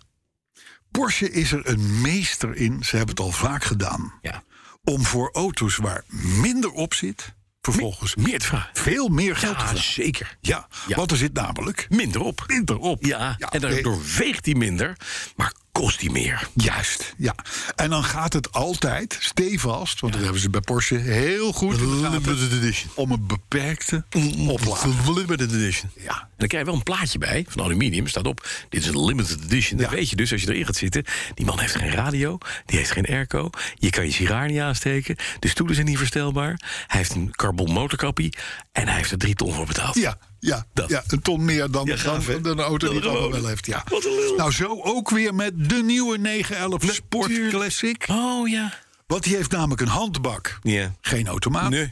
Speaker 2: Porsche is er een meester in, ze hebben het al vaak gedaan,
Speaker 3: ja.
Speaker 2: om voor auto's waar minder op zit, vervolgens
Speaker 3: Meer te vragen.
Speaker 2: veel meer geld te
Speaker 3: Ja,
Speaker 2: vragen.
Speaker 3: zeker.
Speaker 2: Ja,
Speaker 3: Ja.
Speaker 2: want er zit namelijk
Speaker 3: Minder op.
Speaker 2: minder op.
Speaker 3: Ja, en
Speaker 2: nee.
Speaker 3: daardoor weegt hij minder, maar kost hij meer.
Speaker 2: Juist, ja. En dan gaat het altijd stevast, want dat hebben ze bij Porsche heel goed in de gaten, om een beperkte oplage.
Speaker 3: Limited edition. Ja. En dan krijg je wel een plaatje bij, van aluminium, staat op. Dit is een limited edition. Dan
Speaker 2: Ja.
Speaker 3: weet je dus, als je erin gaat zitten, die man heeft geen radio, die heeft geen airco. Je kan je sigaar niet aansteken, de stoelen zijn niet verstelbaar. Hij heeft een carbon motorkappie en hij heeft er drie ton voor betaald.
Speaker 2: Ja, ja,
Speaker 3: Dat.
Speaker 2: ja, een ton meer dan,
Speaker 3: Ja, gaaf,
Speaker 2: dan,
Speaker 3: hè?
Speaker 2: dan een auto die
Speaker 3: Dan
Speaker 2: het
Speaker 3: gewoon.
Speaker 2: allemaal wel heeft. Ja.
Speaker 3: Wat een lul.
Speaker 2: Nou, zo ook weer met de nieuwe 911 Sport
Speaker 3: Natuurlijk.
Speaker 2: Classic.
Speaker 3: Oh ja.
Speaker 2: Want die heeft namelijk een handbak.
Speaker 3: Ja.
Speaker 2: Geen automaat.
Speaker 3: Nee.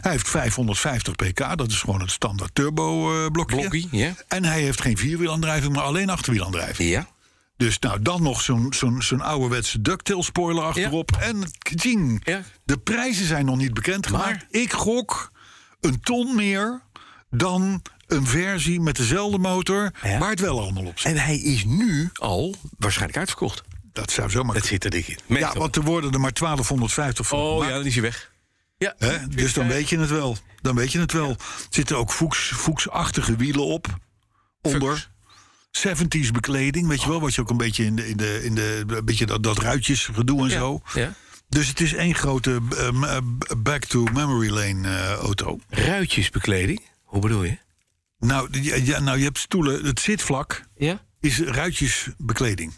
Speaker 2: Hij heeft 550 pk, dat is gewoon het standaard turbo eh, blokje.
Speaker 3: Blokkie, ja.
Speaker 2: En hij heeft geen vierwielaandrijving, maar alleen achterwielaandrijving.
Speaker 3: Ja.
Speaker 2: Dus nou, dan nog zo'n zo'n zo'n ouderwetse ducktail spoiler achterop. En kting.
Speaker 3: Ja.
Speaker 2: De prijzen zijn nog niet bekendgemaakt. Ik gok een ton meer dan een versie met dezelfde motor...
Speaker 3: Ja.
Speaker 2: waar het wel allemaal op zit.
Speaker 3: En hij is nu al waarschijnlijk uitverkocht.
Speaker 2: Dat zou zomaar
Speaker 3: Dat
Speaker 2: kunnen.
Speaker 3: zit er dik in.
Speaker 2: Ja, want er worden er maar 1250 van
Speaker 3: Oh
Speaker 2: gemaakt.
Speaker 3: ja, dan is hij weg. Ja.
Speaker 2: Hè? Dus dan weet je het wel. Dan weet je het wel. Er zitten ook Fuchs, Fuchs-achtige wielen op. Onder. 70s bekleding, weet
Speaker 3: Oh.
Speaker 2: je wel, wat je ook een beetje in de, in de, in de een beetje dat, dat ruitjes gedoe en zo.
Speaker 3: Ja.
Speaker 2: Dus het is één grote eh, m- eh, back to memory lane eh, auto.
Speaker 3: Ruitjesbekleding? Hoe bedoel je?
Speaker 2: Nou, ja, ja, nou, je hebt stoelen, het zitvlak
Speaker 3: Ja.
Speaker 2: is ruitjesbekleding.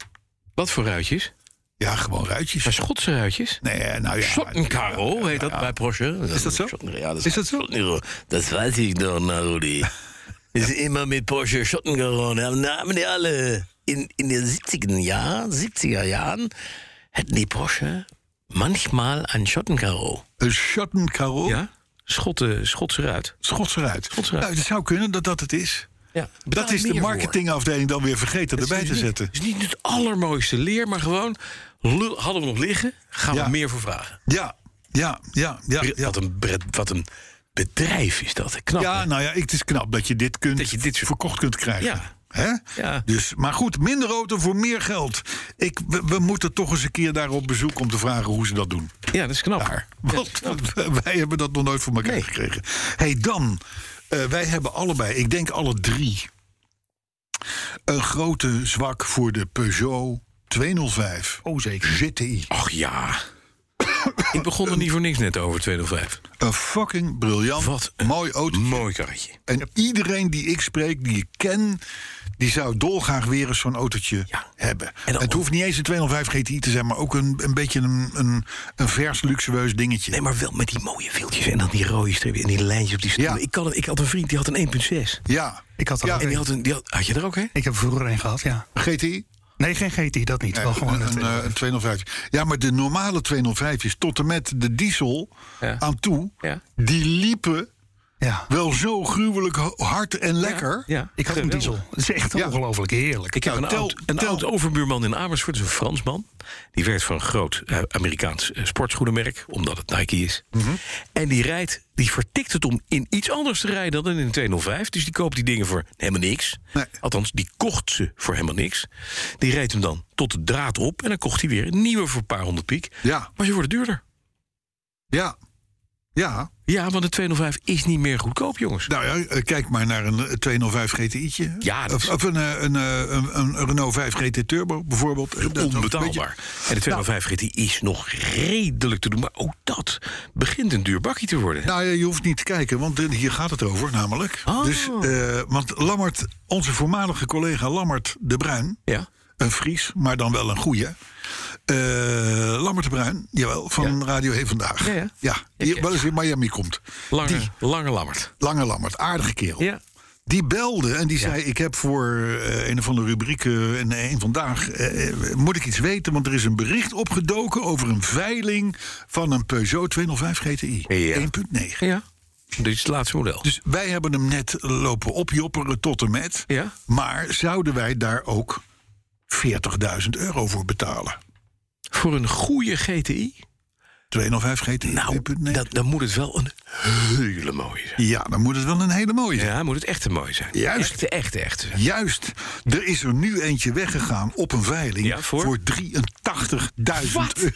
Speaker 3: Wat voor ruitjes?
Speaker 2: Ja, gewoon
Speaker 3: Maar
Speaker 2: ruitjes.
Speaker 3: Schotse ruitjes?
Speaker 2: Nee, nou ja.
Speaker 3: Schottenkaro heet dat bij Porsche.
Speaker 2: Is dat zo?
Speaker 3: Schotten- Ja,
Speaker 2: Is dat zo?
Speaker 3: Schottenkaro. Dat weet ik dan, nou, Rudi. Is immer met Porsche Schottenkaro. Dan haben nou, die alle in, in den 70er Jahren, 70er Jahren, hätten die Porsche manchmal ein Schottenkaro.
Speaker 2: Een schottenkaro.
Speaker 3: Schotten, Schotse ruit.
Speaker 2: Schotse ruit.
Speaker 3: Schotse ruit.
Speaker 2: Nou, het zou kunnen dat dat het is.
Speaker 3: Ja.
Speaker 2: Dat is de marketingafdeling dan weer vergeten erbij te zetten.
Speaker 3: Het is niet het allermooiste leer, maar gewoon... lul- hadden we nog liggen, gaan
Speaker 2: Ja.
Speaker 3: we meer voor vragen.
Speaker 2: Ja, ja, ja, ja.
Speaker 3: Bre-
Speaker 2: ja.
Speaker 3: Wat, een, bre- wat een bedrijf is dat. Knap.
Speaker 2: Ja,
Speaker 3: hè?
Speaker 2: nou ja, het is knap dat je dit, kunt,
Speaker 3: Dat je dit soort-
Speaker 2: verkocht kunt krijgen.
Speaker 3: Ja.
Speaker 2: Hè?
Speaker 3: Ja.
Speaker 2: Dus, maar goed, minder auto voor meer geld. Ik, we, we moeten toch eens een keer daar op bezoek om te vragen hoe ze dat doen.
Speaker 3: Dus- ja, dat is knap.
Speaker 2: Daar. Want wij hebben dat nog nooit voor elkaar
Speaker 3: Nee.
Speaker 2: gekregen. hey, dan Eh, wij hebben allebei, ik denk alle drie, een grote zwak voor de Peugeot 205
Speaker 4: Oh, zeker.
Speaker 2: GTI.
Speaker 3: Ach ja. ik begon er niet voor niks net over 205.
Speaker 2: Een fucking briljant,
Speaker 3: Wat een
Speaker 2: mooi auto.
Speaker 3: Mooi karretje.
Speaker 2: En iedereen die ik spreek, die ik ken, die zou dolgraag weer eens zo'n autootje
Speaker 3: Ja.
Speaker 2: hebben.
Speaker 3: En dan-
Speaker 2: het hoeft niet eens een 205 GTI te zijn, maar ook een, een beetje een, een, een vers luxueus dingetje.
Speaker 3: Nee, maar wel met die mooie viltjes en dan die rode strepen en die lijntjes op die stoelen.
Speaker 2: Ja.
Speaker 3: Ik, kan het- ik had een vriend die had een 1.6.
Speaker 2: Ja,
Speaker 4: Ik had er
Speaker 2: ja,
Speaker 4: ook
Speaker 3: En die had een. Die had, had je er ook, hè?
Speaker 4: Ik heb er vroeger een gehad, ja.
Speaker 2: GTI.
Speaker 4: Nee, geen GT, dat niet. wel
Speaker 2: Nee,
Speaker 4: gewoon
Speaker 2: een,
Speaker 4: een,
Speaker 2: eh, een 205. Ja, maar de normale 205 is tot en met de diesel
Speaker 3: Ja.
Speaker 2: aan toe.
Speaker 3: Ja.
Speaker 2: Die liepen
Speaker 4: ja.
Speaker 2: wel zo gruwelijk ho- hard en lekker.
Speaker 3: Ja.
Speaker 4: Ik had een diesel. Het is echt
Speaker 2: Ja.
Speaker 4: ongelooflijk heerlijk.
Speaker 3: Ik heb
Speaker 2: Nou,
Speaker 3: een,
Speaker 2: tel-
Speaker 3: oud, een
Speaker 2: tel-
Speaker 3: oud overbuurman in Amersfoort, dat is een Fransman. Die werkt voor een groot eh, Amerikaans eh, sportschoenenmerk, omdat het Nike is.
Speaker 2: Mhm.
Speaker 3: En die rijdt, die vertikt het om in iets anders te rijden dan in een 205. Dus die koopt die dingen voor helemaal niks.
Speaker 2: Nee.
Speaker 3: Althans, die kocht ze voor helemaal niks. Die rijdt hem dan tot de draad op en dan kocht hij weer een nieuwe voor een paar honderd piek.
Speaker 2: Ja,
Speaker 3: Maar ze worden duurder.
Speaker 2: ja. Ja,
Speaker 3: Ja, want een 205 is niet meer goedkoop, jongens.
Speaker 2: nou ja, eh, kijk maar naar een eh, 205 GTI'tje.
Speaker 3: Ja, dat
Speaker 2: of,
Speaker 3: is-
Speaker 2: of een, eh, een, eh, een, een Renault 5 GT Turbo bijvoorbeeld. Eh, dat is ook een
Speaker 3: Onbetaalbaar. En de 205 GT is nog redelijk te doen. Maar ook dat begint een duur bakje te worden.
Speaker 2: beetje- Nou ja, je hoeft niet te kijken, want eh, hier gaat het over namelijk.
Speaker 3: Oh.
Speaker 2: Dus, eh, want Lammert, onze voormalige collega Lammert de Bruin...
Speaker 3: Ja.
Speaker 2: Een Fries, maar dan wel een goeie. Eh Lammert de Bruin, jawel, van Radio 1 Vandaag.
Speaker 3: Ja, ja.
Speaker 2: die wel eens in Miami komt.
Speaker 3: Lange,
Speaker 2: Die.
Speaker 3: lange Lammert.
Speaker 2: Lange Lammert, aardige kerel.
Speaker 3: Ja.
Speaker 2: Die belde en die zei: Ik heb voor eh, een van de rubrieken en een vandaag. eh, eh, moet ik iets weten? Want er is een bericht opgedoken over een veiling van een Peugeot 205 GTI.
Speaker 3: Ja.
Speaker 2: 1.9.
Speaker 3: Ja. Dit is het laatste model.
Speaker 2: Dus wij hebben hem net lopen opjopperen tot en met.
Speaker 3: Ja.
Speaker 2: Maar zouden wij daar ook 40.000 euro voor betalen?
Speaker 3: Voor een goede GTI?
Speaker 2: 205 GTI
Speaker 3: Nou,
Speaker 2: 1.9.
Speaker 3: dan, dan moet het wel een hele mooie zijn.
Speaker 2: Ja, dan moet het wel een hele mooie zijn.
Speaker 3: Ja, moet het echt een mooie zijn.
Speaker 2: Juist.
Speaker 3: Echte, echte, echte.
Speaker 2: Juist, er is er nu eentje weggegaan op een veiling
Speaker 3: Ja, voor?
Speaker 2: 83.000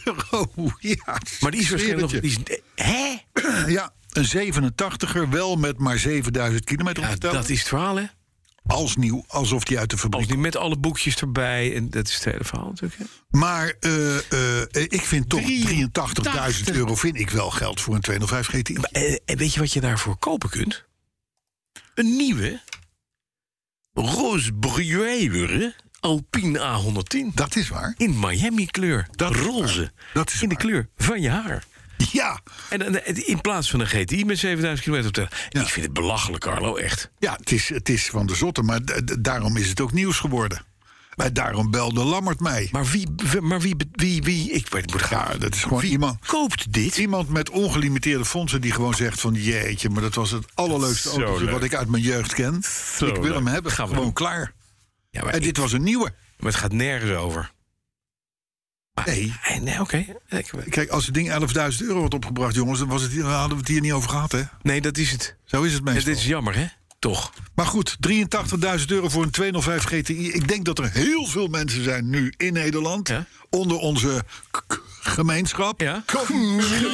Speaker 2: euro. Ja,
Speaker 3: Maar die is waarschijnlijk nog...
Speaker 2: zweer het
Speaker 3: Die is, eh, hè?
Speaker 2: je. Ja, een 87er, wel met maar 7000 kilometer op
Speaker 3: Ja,
Speaker 2: de teller.
Speaker 3: dat is het verhaal, hè?
Speaker 2: Als nieuw, alsof die uit de
Speaker 3: Als
Speaker 2: fabriek.
Speaker 3: die met alle boekjes erbij. En dat is het hele verhaal natuurlijk. hè?
Speaker 2: Maar eh, eh, eh, ik vind toch 83.000 euro vind ik wel geld voor een 205 GTI.
Speaker 3: Eh, en weet je wat je daarvoor kopen kunt? Een nieuwe Roos Breuer Alpine A110.
Speaker 2: Dat is waar.
Speaker 3: In Miami kleur.
Speaker 2: Dat is
Speaker 3: roze.
Speaker 2: waar. Dat is
Speaker 3: in de
Speaker 2: waar.
Speaker 3: kleur van je haar.
Speaker 2: Ja,
Speaker 3: En, dan- in plaats van een GTI met 7000 kilometer op de...
Speaker 2: Ja.
Speaker 3: Ik vind het belachelijk, Carlo, echt.
Speaker 2: ja het, is, het is van de zotte, maar d- d- daarom is het ook nieuws geworden. En daarom belde Lammert mij.
Speaker 3: Maar wie... wie- Maar wie... wie, wie ik weet, het moet gaan.
Speaker 2: Ja, dat is gewoon iemand.
Speaker 3: Koopt dit?
Speaker 2: Iemand met ongelimiteerde fondsen die gewoon zegt van... jeetje, maar dat was het allerleukste
Speaker 3: Zo
Speaker 2: autootje
Speaker 3: leuk.
Speaker 2: wat ik uit mijn jeugd ken. ik wil hem
Speaker 3: leuk.
Speaker 2: hebben,
Speaker 3: Gaan we
Speaker 2: gewoon
Speaker 3: doen.
Speaker 2: klaar.
Speaker 3: Ja, maar,
Speaker 2: en
Speaker 3: ik-
Speaker 2: dit was een nieuwe.
Speaker 3: maar het gaat nergens over. Maar-
Speaker 2: Nee.
Speaker 3: Eh, Nee, oké. Ik-
Speaker 2: Kijk, als het ding 11.000 euro had opgebracht, jongens... dan was het, hier- dan hadden we het hier niet over gehad, hè?
Speaker 3: Nee, dat is het.
Speaker 2: Zo is het
Speaker 3: Ja,
Speaker 2: meestal.
Speaker 3: dit is jammer, hè? Toch.
Speaker 2: Maar goed, 83.000 euro voor een 205 GTI. Ik denk dat er heel veel mensen zijn nu in Nederland...
Speaker 3: Ja.
Speaker 2: onder onze k- k- gemeenschap.
Speaker 3: Ja.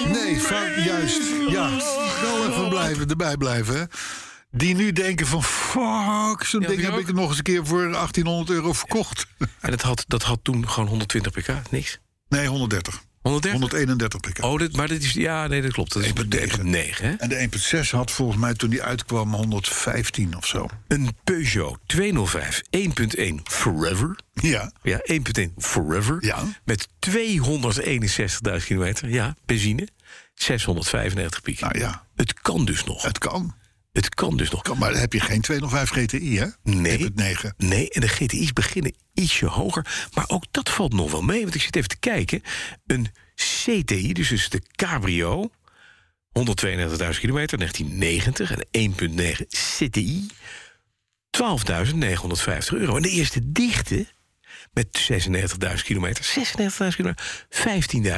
Speaker 2: Nee, van, juist. Ja, wel even blijven, erbij blijven. hè. Die nu denken van, fuck, zo'n
Speaker 3: Ja,
Speaker 2: ding
Speaker 3: die
Speaker 2: heb
Speaker 3: ook.
Speaker 2: ik nog eens een keer voor 1800 euro verkocht.
Speaker 3: En dat had, dat had toen gewoon 120 pk, niks.
Speaker 2: Nee, 130.
Speaker 3: 130?
Speaker 2: 131 pk.
Speaker 3: Oh, dit, maar dit is... Ja, nee, dat klopt. Dat is
Speaker 2: 1.9.
Speaker 3: 1.9, hè?
Speaker 2: En de 1.6 had volgens mij toen die uitkwam 115 of zo.
Speaker 3: Een Peugeot 205 1.1 Forever.
Speaker 2: Ja,
Speaker 3: Ja, 1.1 Forever.
Speaker 2: Ja.
Speaker 3: Met 261.000 kilometer. Ja, benzine. 695 piek.
Speaker 2: nou ja,
Speaker 3: Het kan dus nog.
Speaker 2: het kan.
Speaker 3: Het kan dus nog.
Speaker 2: kan maar heb je geen 205 GTI, hè?
Speaker 3: Nee.
Speaker 2: 1.9.
Speaker 3: Nee, en de GTI's beginnen ietsje hoger. Maar ook dat valt nog wel mee, want ik zit even te kijken. Een CTI, dus is de Cabrio, 132.000 kilometer, 1990. En 1.9 CTI, 12.950 euro. En de eerste dichte, met 96.000 kilometer, 96.000 kilometer,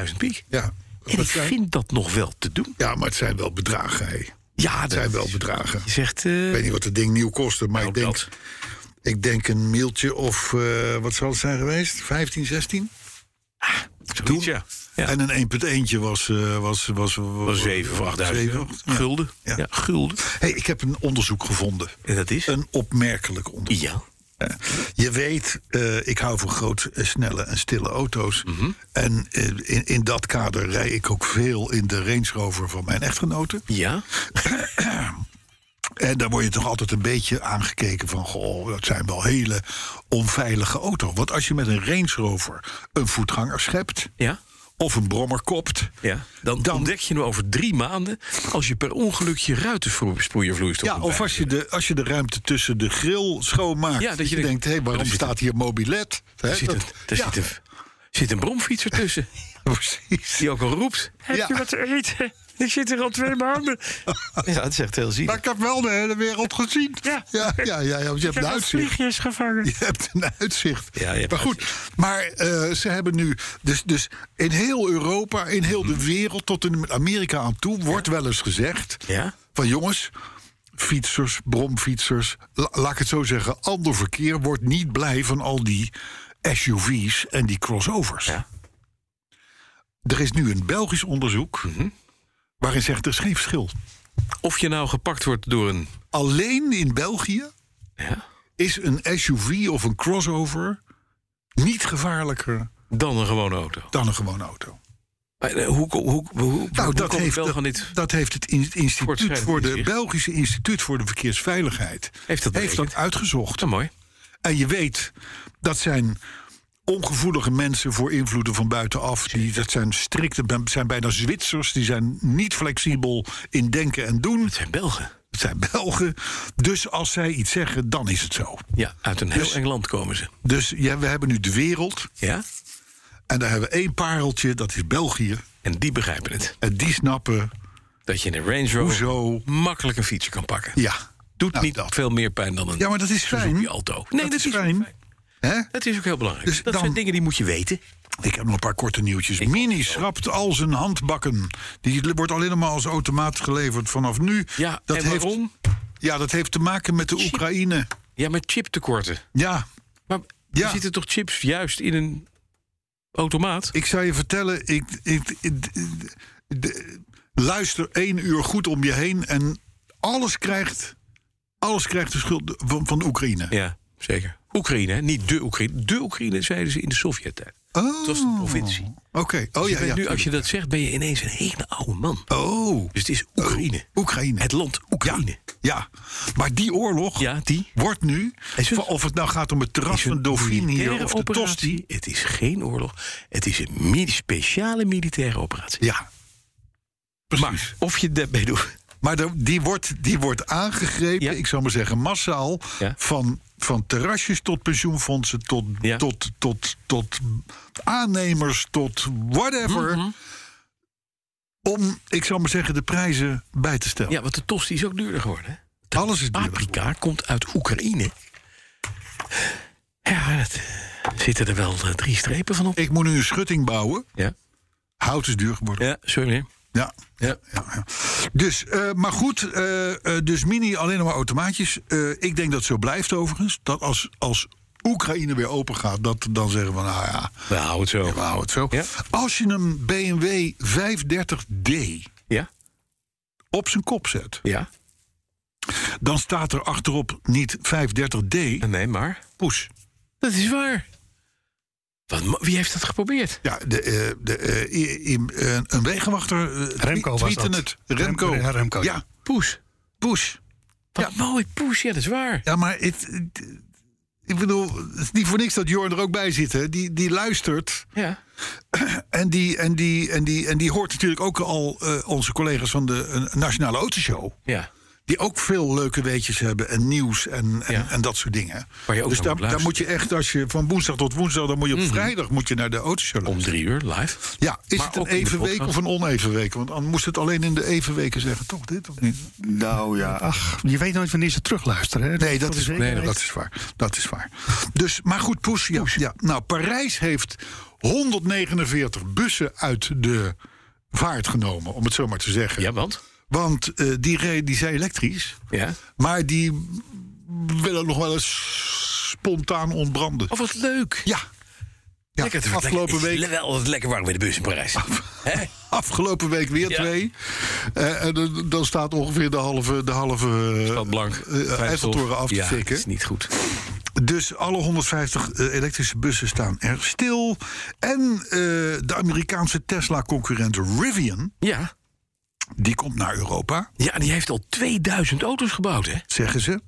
Speaker 3: 15.000 piek.
Speaker 2: Ja.
Speaker 3: En ik
Speaker 2: Dat zijn-
Speaker 3: vind dat nog wel te doen.
Speaker 2: Ja, maar het zijn wel bedragen, hè.
Speaker 3: Ja, dat
Speaker 2: zijn wel bedragen.
Speaker 3: Je zegt, eh,
Speaker 2: Ik weet niet wat het ding nieuw kostte, maar
Speaker 3: nou,
Speaker 2: ik denk,
Speaker 3: dat.
Speaker 2: ik denk een mailtje of eh, wat zal het zijn geweest? 15, 16?
Speaker 3: Zoiets, ja. Ja.
Speaker 2: En een 1.1 was, eh was, was,
Speaker 3: was 7 of 8000
Speaker 2: zeven,
Speaker 3: euro.
Speaker 2: ja.
Speaker 3: Gulden.
Speaker 2: Ja.
Speaker 3: Ja. gulden.
Speaker 2: Hey, ik heb een onderzoek gevonden.
Speaker 3: En dat is?
Speaker 2: Een opmerkelijk onderzoek.
Speaker 3: Ja.
Speaker 2: Eh, Je weet, eh, ik hou van grote, eh, snelle en stille auto's.
Speaker 3: Mhm.
Speaker 2: En eh, in, in dat kader rij ik ook veel in de Range Rover van mijn echtgenote.
Speaker 3: Ja.
Speaker 2: En daar word je toch altijd een beetje aangekeken van... goh, dat zijn wel hele onveilige auto's. Want als je met een Range Rover een voetganger schept...
Speaker 3: Ja.
Speaker 2: of een brommer kopt...
Speaker 3: Ja, dan,
Speaker 2: Dan-
Speaker 3: ontdek je hem over drie maanden als je per ongeluk je ruitensproeiervloeistof
Speaker 2: Ja, of als je, de, als je de ruimte tussen de grill schoonmaakt.
Speaker 3: Ja,
Speaker 2: dat je, denkt, hé, waarom
Speaker 3: er zit
Speaker 2: staat hier mobilet? Hè,
Speaker 3: Er zit
Speaker 2: dat-
Speaker 3: een, er
Speaker 2: ja,
Speaker 3: zit een, zit een bromfietser tussen
Speaker 2: precies.
Speaker 3: die ook al roept. Heb
Speaker 2: Ja.
Speaker 3: je wat te eten? Ik zit er al twee maanden. Ja, het is echt heel zielig.
Speaker 2: Maar ik heb wel de hele wereld gezien.
Speaker 3: Ja.
Speaker 2: ja, ja, ja, ja, want je hebt een
Speaker 3: wat
Speaker 2: uitzicht.
Speaker 3: vliegjes gevangen.
Speaker 2: Je hebt een uitzicht.
Speaker 3: Ja, je hebt
Speaker 2: maar goed, maar eh, ze hebben nu. Dus, dus in heel Europa, in heel de wereld, tot in Amerika aan toe, wordt wel eens gezegd:
Speaker 3: Ja.
Speaker 2: van jongens, fietsers, bromfietsers, la- laat ik het zo zeggen, ander verkeer wordt niet blij van al die SUV's en die crossovers.
Speaker 3: Ja.
Speaker 2: Er is nu een Belgisch onderzoek waarin zegt er is geen verschil.
Speaker 3: Mhm. Of je nou gepakt wordt door een...
Speaker 2: Alleen in België
Speaker 3: Ja,
Speaker 2: is een SUV of een crossover niet gevaarlijker
Speaker 3: dan een gewone auto.
Speaker 2: dan een gewone auto.
Speaker 3: Maar, eh, Hoe, hoe, hoe, hoe,
Speaker 2: Nou,
Speaker 3: hoe
Speaker 2: dat
Speaker 3: komt
Speaker 2: heeft,
Speaker 3: wel
Speaker 2: dat,
Speaker 3: van dit...
Speaker 2: dat heeft het in- instituut
Speaker 3: Voortschrijdend
Speaker 2: voor de
Speaker 3: inzicht.
Speaker 2: Belgische Instituut voor de Verkeersveiligheid
Speaker 3: Heeft dat berekend?
Speaker 2: uitgezocht.
Speaker 3: Zo mooi.
Speaker 2: En je weet, dat zijn ongevoelige mensen voor invloeden van buitenaf. Die, dat zijn strikte, ben- zijn bijna Zwitsers. Die zijn niet flexibel in denken en doen.
Speaker 3: Het zijn Belgen.
Speaker 2: Het zijn Belgen. Dus als zij iets zeggen, dan is het zo.
Speaker 3: Ja, uit een heel
Speaker 2: Dus-
Speaker 3: eng land komen ze.
Speaker 2: Dus ja, we hebben nu de wereld.
Speaker 3: Ja?
Speaker 2: En daar hebben we één pareltje, dat is België.
Speaker 3: En die begrijpen het.
Speaker 2: En die snappen,
Speaker 3: Dat je in een Range Rover
Speaker 2: hoezo...
Speaker 3: makkelijk een fietsje kan pakken.
Speaker 2: Ja,
Speaker 3: Doet
Speaker 2: nou,
Speaker 3: niet
Speaker 2: dat.
Speaker 3: veel meer pijn dan een
Speaker 2: Ja, maar dat is fijn.
Speaker 3: Suzuki Alto. Nee, dat, is
Speaker 2: fijn.
Speaker 3: fijn.
Speaker 2: Hè?
Speaker 3: Dat is ook heel belangrijk.
Speaker 2: Dus
Speaker 3: dat
Speaker 2: dan-
Speaker 3: zijn dingen die moet je weten.
Speaker 2: Ik heb nog een paar korte nieuwtjes. Mini schrapt al zijn handbakken. Die wordt alleen maar als automaat geleverd vanaf nu.
Speaker 3: Ja,
Speaker 2: dat
Speaker 3: en
Speaker 2: heeft,
Speaker 3: waarom?
Speaker 2: Ja, dat heeft te maken met de Oekraïne.
Speaker 3: Ja, met chiptekorten.
Speaker 2: Ja,
Speaker 3: Maar
Speaker 2: Ja.
Speaker 3: er zitten toch chips juist in een automaat?
Speaker 2: ik zou je vertellen. Ik, ik, ik- de- luister één uur goed om je heen en alles krijgt, alles krijgt de schuld van, van de Oekraïne.
Speaker 3: Ja, zeker. Oekraïne, hè? niet de Oekraïne. De Oekraïne zeiden ze in de Sovjet-tijd.
Speaker 2: Oh,
Speaker 3: Het was een provincie.
Speaker 2: Oké, oh
Speaker 3: Dus
Speaker 2: ja,
Speaker 3: je bent
Speaker 2: ja.
Speaker 3: nu, als je dat zegt, ben je ineens een hele oude man.
Speaker 2: Oh,
Speaker 3: Dus het is Oekraïne.
Speaker 2: Oekraïne.
Speaker 3: Het land Oekraïne.
Speaker 2: Ja, maar die oorlog
Speaker 3: Ja, die
Speaker 2: wordt nu,
Speaker 3: Is het-
Speaker 2: of het nou gaat om het terras
Speaker 3: is een
Speaker 2: van Dauphine hier
Speaker 3: militaire
Speaker 2: of de Tosti.
Speaker 3: operatie. Het is geen oorlog. Het is een mi- speciale militaire operatie.
Speaker 2: Ja, precies.
Speaker 3: Maar of je dat bij doet...
Speaker 2: Maar de- die, wordt, die wordt aangegrepen,
Speaker 3: Ja.
Speaker 2: ik zou maar zeggen massaal,
Speaker 3: Ja.
Speaker 2: van, van terrasjes tot pensioenfondsen, tot,
Speaker 3: Ja.
Speaker 2: tot, tot, tot aannemers, tot whatever.
Speaker 3: Mhm.
Speaker 2: Om, ik zou maar zeggen, de prijzen bij te stellen.
Speaker 3: Ja, want de tosti is ook duurder geworden. hè? De
Speaker 2: Alles is duurder
Speaker 3: Paprika komt uit Oekraïne. Ja, dat eh, zitten er wel eh, drie strepen van op.
Speaker 2: Ik moet nu een schutting bouwen.
Speaker 3: Ja,
Speaker 2: Hout is duur geworden.
Speaker 3: ja sorry meneer.
Speaker 2: Ja.
Speaker 3: Ja.
Speaker 2: ja, ja. Dus, eh, maar goed, eh, eh, dus mini alleen nog maar automaatjes. Eh, ik denk dat het zo blijft overigens. Dat als, als Oekraïne weer open gaat, dat dan zeggen we, nou ja,
Speaker 3: We houden het zo.
Speaker 2: we houden het zo.
Speaker 3: Ja.
Speaker 2: Als je een BMW 530d
Speaker 3: Ja,
Speaker 2: op zijn kop zet,
Speaker 3: ja.
Speaker 2: dan staat er achterop niet 530d,
Speaker 3: Nee, maar.
Speaker 2: poes.
Speaker 3: Dat is waar. Wat, ma- wie heeft dat geprobeerd?
Speaker 2: Ja, de, eh, de, eh, i- i- eh, een wegenwachter eh, twe-
Speaker 4: Remco was
Speaker 2: tweette
Speaker 4: dat.
Speaker 2: het. Remco.
Speaker 4: Rem- ja, Remco, ja.
Speaker 2: Ja,
Speaker 3: Poes.
Speaker 2: poes.
Speaker 3: Wat mooi, poes. Ja, dat is waar.
Speaker 2: Ja, maar het, het- ik bedoel, het is niet voor niks dat Jorn er ook bij zit. Hè? Die, die luistert
Speaker 3: Ja.
Speaker 2: en die, en, die, en, die, en die hoort natuurlijk ook al eh, onze collega's van de eh, Nationale Autoshow.
Speaker 3: ja.
Speaker 2: Die ook veel leuke weetjes hebben en nieuws en, en,
Speaker 3: Ja.
Speaker 2: en dat soort dingen.
Speaker 3: Waar je ook
Speaker 2: dus
Speaker 3: naar
Speaker 2: daar,
Speaker 3: moet
Speaker 2: daar moet je
Speaker 3: luisteren.
Speaker 2: echt, als je van woensdag tot woensdag, dan moet je op vrijdag moet je naar de Autoshow
Speaker 3: Om
Speaker 2: luisteren.
Speaker 3: drie uur live.
Speaker 2: Ja, is
Speaker 3: Maar
Speaker 2: het een
Speaker 3: ook in de
Speaker 2: even week
Speaker 3: podcast.
Speaker 2: of een oneven week? Want anders moest het alleen in de even weken zeggen, toch dit of niet?
Speaker 4: Nou ja, ach, je weet nooit wanneer ze terugluisteren. Hè?
Speaker 2: Nee, dat is,
Speaker 4: voor de
Speaker 2: nee,
Speaker 4: zekerheid.
Speaker 2: dat is waar. Dat is waar. Dus, maar goed, Poes. Ja, ja. Nou, Parijs heeft 149 bussen uit de vaart genomen, om het zo maar te zeggen.
Speaker 3: Ja, want?
Speaker 2: Want eh, die, re- die zijn elektrisch,
Speaker 3: Ja.
Speaker 2: maar die willen nog wel eens spontaan ontbranden.
Speaker 3: Oh, wat leuk.
Speaker 2: Ja,
Speaker 3: lekker, Oh. het wordt
Speaker 2: afgelopen
Speaker 3: lekker,
Speaker 2: week-
Speaker 3: Het is wel altijd lekker warm in de bus in Parijs. Hè?
Speaker 2: Afgelopen week weer
Speaker 3: Ja.
Speaker 2: twee. Eh, en dan- dan staat ongeveer de halve, de halve eh,
Speaker 3: Stad Blank.
Speaker 2: eh, Eiffeltoren af te
Speaker 3: ja,
Speaker 2: fikken.
Speaker 3: is niet goed.
Speaker 2: Dus alle 150 eh, elektrische bussen staan er stil. En eh, de Amerikaanse Tesla-concurrent Rivian,
Speaker 3: Ja.
Speaker 2: die komt naar Europa,
Speaker 3: ja, die heeft al 2000 auto's gebouwd, hè?
Speaker 2: zeggen ze.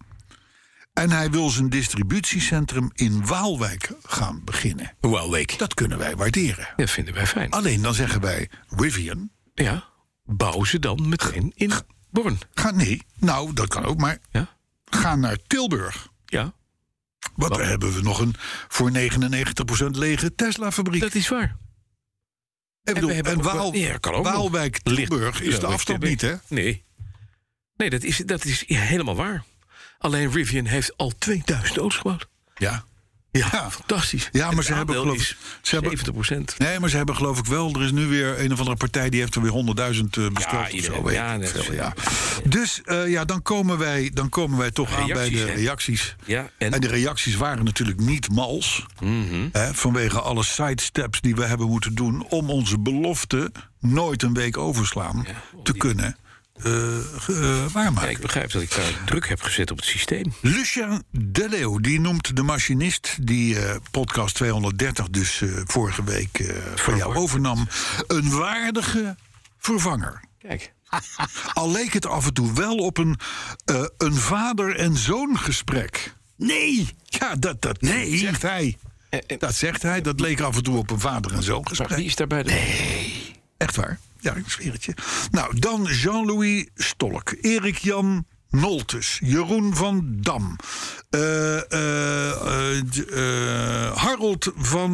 Speaker 2: En hij wil zijn distributiecentrum in Waalwijk gaan beginnen.
Speaker 3: Wow, week.
Speaker 2: Dat kunnen wij waarderen.
Speaker 3: Dat vinden wij fijn.
Speaker 2: Alleen dan zeggen wij, Rivian,
Speaker 3: Ja, bouw ze dan meteen in Born.
Speaker 2: ga nee. Nou, dat kan ook, maar
Speaker 3: Ja,
Speaker 2: ga naar Tilburg.
Speaker 3: ja
Speaker 2: Want daar hebben we nog een voor 99% lege Tesla-fabriek.
Speaker 3: dat is waar.
Speaker 2: Ik bedoel,
Speaker 3: we
Speaker 2: en
Speaker 3: hebben ook wel-
Speaker 2: Waal,
Speaker 3: Ja, kan ook nog.
Speaker 2: Waalwijk-Tilburg is
Speaker 3: Ja,
Speaker 2: de
Speaker 3: weet
Speaker 2: afstand
Speaker 3: je,
Speaker 2: niet, hè?
Speaker 3: Nee. Nee, dat is, dat is helemaal waar. Alleen Rivian heeft al 2000 auto's gebouwd.
Speaker 2: Ja.
Speaker 3: Ja,
Speaker 2: Ja.
Speaker 3: fantastisch.
Speaker 2: Ja, maar
Speaker 3: Het
Speaker 2: ze hebben
Speaker 3: aandeel
Speaker 2: geloof ik-
Speaker 3: is
Speaker 2: ze hebben-
Speaker 3: 70
Speaker 2: Nee, maar ze hebben geloof ik wel... Er is nu weer een of andere partij die heeft er weer 100.000 eh, besteld of
Speaker 3: iedereen.
Speaker 2: zo. weet
Speaker 3: Ja,
Speaker 2: ik
Speaker 3: net
Speaker 2: veel,
Speaker 3: zo.
Speaker 2: ja. Dus eh, ja, dan komen wij, dan komen wij toch aan bij
Speaker 3: Reacties,
Speaker 2: de
Speaker 3: hè?
Speaker 2: reacties.
Speaker 3: Ja, en? Mhm.
Speaker 2: en? de reacties waren natuurlijk niet mals. hè, vanwege alle sidesteps die we hebben moeten doen... om onze belofte nooit een week overslaan te kunnen eh, ge- eh, waarmaken.
Speaker 3: Ja, ik begrijp dat ik daar druk heb gezet op het systeem.
Speaker 2: Lucien De Leeuw, die noemt de machinist die eh, podcast 230 dus eh, vorige week eh van jou overnam, een waardige vervanger.
Speaker 3: Kijk.
Speaker 2: Ah, Al leek het af en toe wel op een, eh, een vader- en zoongesprek. Nee! Ja, dat, dat zegt hij.
Speaker 3: eh.
Speaker 2: dat zegt hij. Dat leek af en toe op een vader- en zoongesprek.
Speaker 3: Maar wie is daarbij de...
Speaker 2: Echt waar. Ja, ik zweer het je. Nou, dan Jean-Louis Stolk, Erik Jan Noltes, Jeroen van Dam, eh, eh, eh, d- eh, Harold van.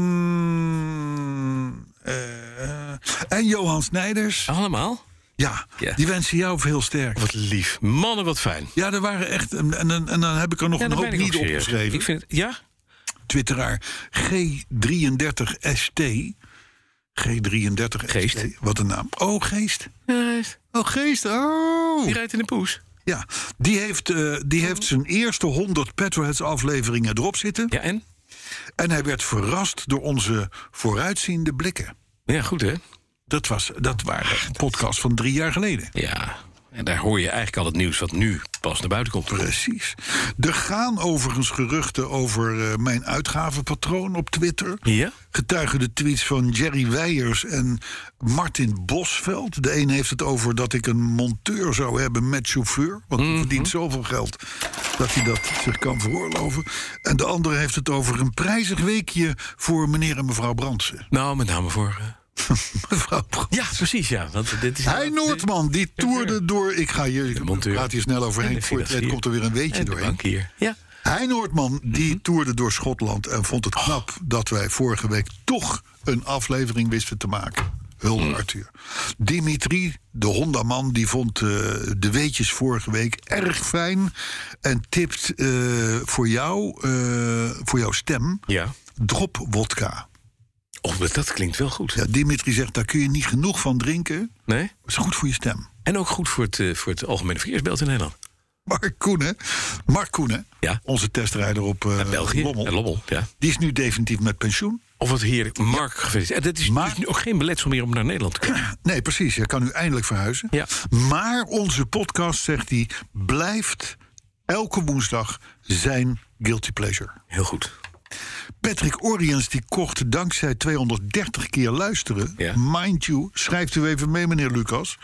Speaker 2: eh, en Johan Snijders.
Speaker 3: Allemaal?
Speaker 2: Ja,
Speaker 3: Ja.
Speaker 2: die wensen jou veel sterk.
Speaker 3: Wat lief. Mannen, wat fijn.
Speaker 2: Ja, er waren echt. En, en, en dan heb ik er nog
Speaker 3: Ja,
Speaker 2: een
Speaker 3: dan ben
Speaker 2: hoop
Speaker 3: ik ook
Speaker 2: niet
Speaker 3: serieus.
Speaker 2: opgeschreven.
Speaker 3: Ik vind het... Ja?
Speaker 2: Twitteraar G33ST. G33ST.
Speaker 3: Geest.
Speaker 2: Wat een naam. Oh, geest.
Speaker 3: Ja,
Speaker 2: Oh, geest. Oh.
Speaker 3: Die rijdt in de poes.
Speaker 2: Ja, die heeft, eh, die heeft zijn eerste 100 Petroheads afleveringen erop zitten.
Speaker 3: Ja, en?
Speaker 2: En hij werd verrast door onze vooruitziende blikken.
Speaker 3: Ja, goed hè?
Speaker 2: Dat, was, dat waren podcasts van drie jaar geleden.
Speaker 3: Ja. En daar hoor je eigenlijk al het nieuws wat nu pas naar buiten komt.
Speaker 2: Precies. Er gaan overigens geruchten over eh, mijn uitgavenpatroon op Twitter.
Speaker 3: Ja?
Speaker 2: Getuigen de tweets van Jerry Weijers en Martin Bosveld. De een heeft het over dat ik een monteur zou hebben met chauffeur. Want
Speaker 3: Mhm.
Speaker 2: die verdient zoveel geld dat hij dat zich kan veroorloven. En de andere heeft het over een prijzig weekje voor meneer en mevrouw Brandsen.
Speaker 3: Nou, met name voor... eh,
Speaker 2: mevrouw Brandsen.
Speaker 3: Ja, precies, ja. Want dit is
Speaker 2: Hij Noordman, die toerde door. Ik ga hier, ik
Speaker 3: monteur.
Speaker 2: praat hier snel
Speaker 3: En
Speaker 2: overheen.
Speaker 3: de
Speaker 2: Voor je het weet
Speaker 3: financier.
Speaker 2: komt er weer een weetje
Speaker 3: en de
Speaker 2: doorheen.
Speaker 3: bankier. Ja.
Speaker 2: Hein Noordman die
Speaker 3: Mhm.
Speaker 2: toerde door Schotland en vond
Speaker 3: Oh.
Speaker 2: het knap dat wij vorige week toch een aflevering wisten te maken. Hulde
Speaker 3: Mhm.
Speaker 2: Arthur. Dimitri, de Honda-man, die vond eh, de weetjes vorige week erg fijn. En tipt eh, voor, jou, eh, voor jouw stem
Speaker 3: Ja.
Speaker 2: drop wodka.
Speaker 3: Oh, maar dat klinkt wel goed.
Speaker 2: Ja, Dimitri zegt, daar kun je niet genoeg van drinken. Het
Speaker 3: Nee?
Speaker 2: is goed voor je stem.
Speaker 3: En ook goed voor het, eh, voor het algemene verkeersbeeld in Nederland.
Speaker 2: Mark Koenen, Mark Koenen
Speaker 3: Ja.
Speaker 2: onze testrijder op eh,
Speaker 3: En België.
Speaker 2: Lommel,
Speaker 3: En Lommel, ja.
Speaker 2: die is nu definitief met pensioen.
Speaker 3: Of wat heerlijk. Mark gefeliciteerd. En dat is
Speaker 2: Maar-
Speaker 3: dus nu ook geen beletsel meer om naar Nederland te komen.
Speaker 2: Nee, precies. Hij kan nu eindelijk verhuizen.
Speaker 3: Ja.
Speaker 2: Maar onze podcast, zegt hij, blijft elke woensdag zijn guilty pleasure.
Speaker 3: Heel goed.
Speaker 2: Patrick Oriens die kocht dankzij 230 keer luisteren.
Speaker 3: Ja.
Speaker 2: Mind you, schrijft u even mee, meneer Lucas.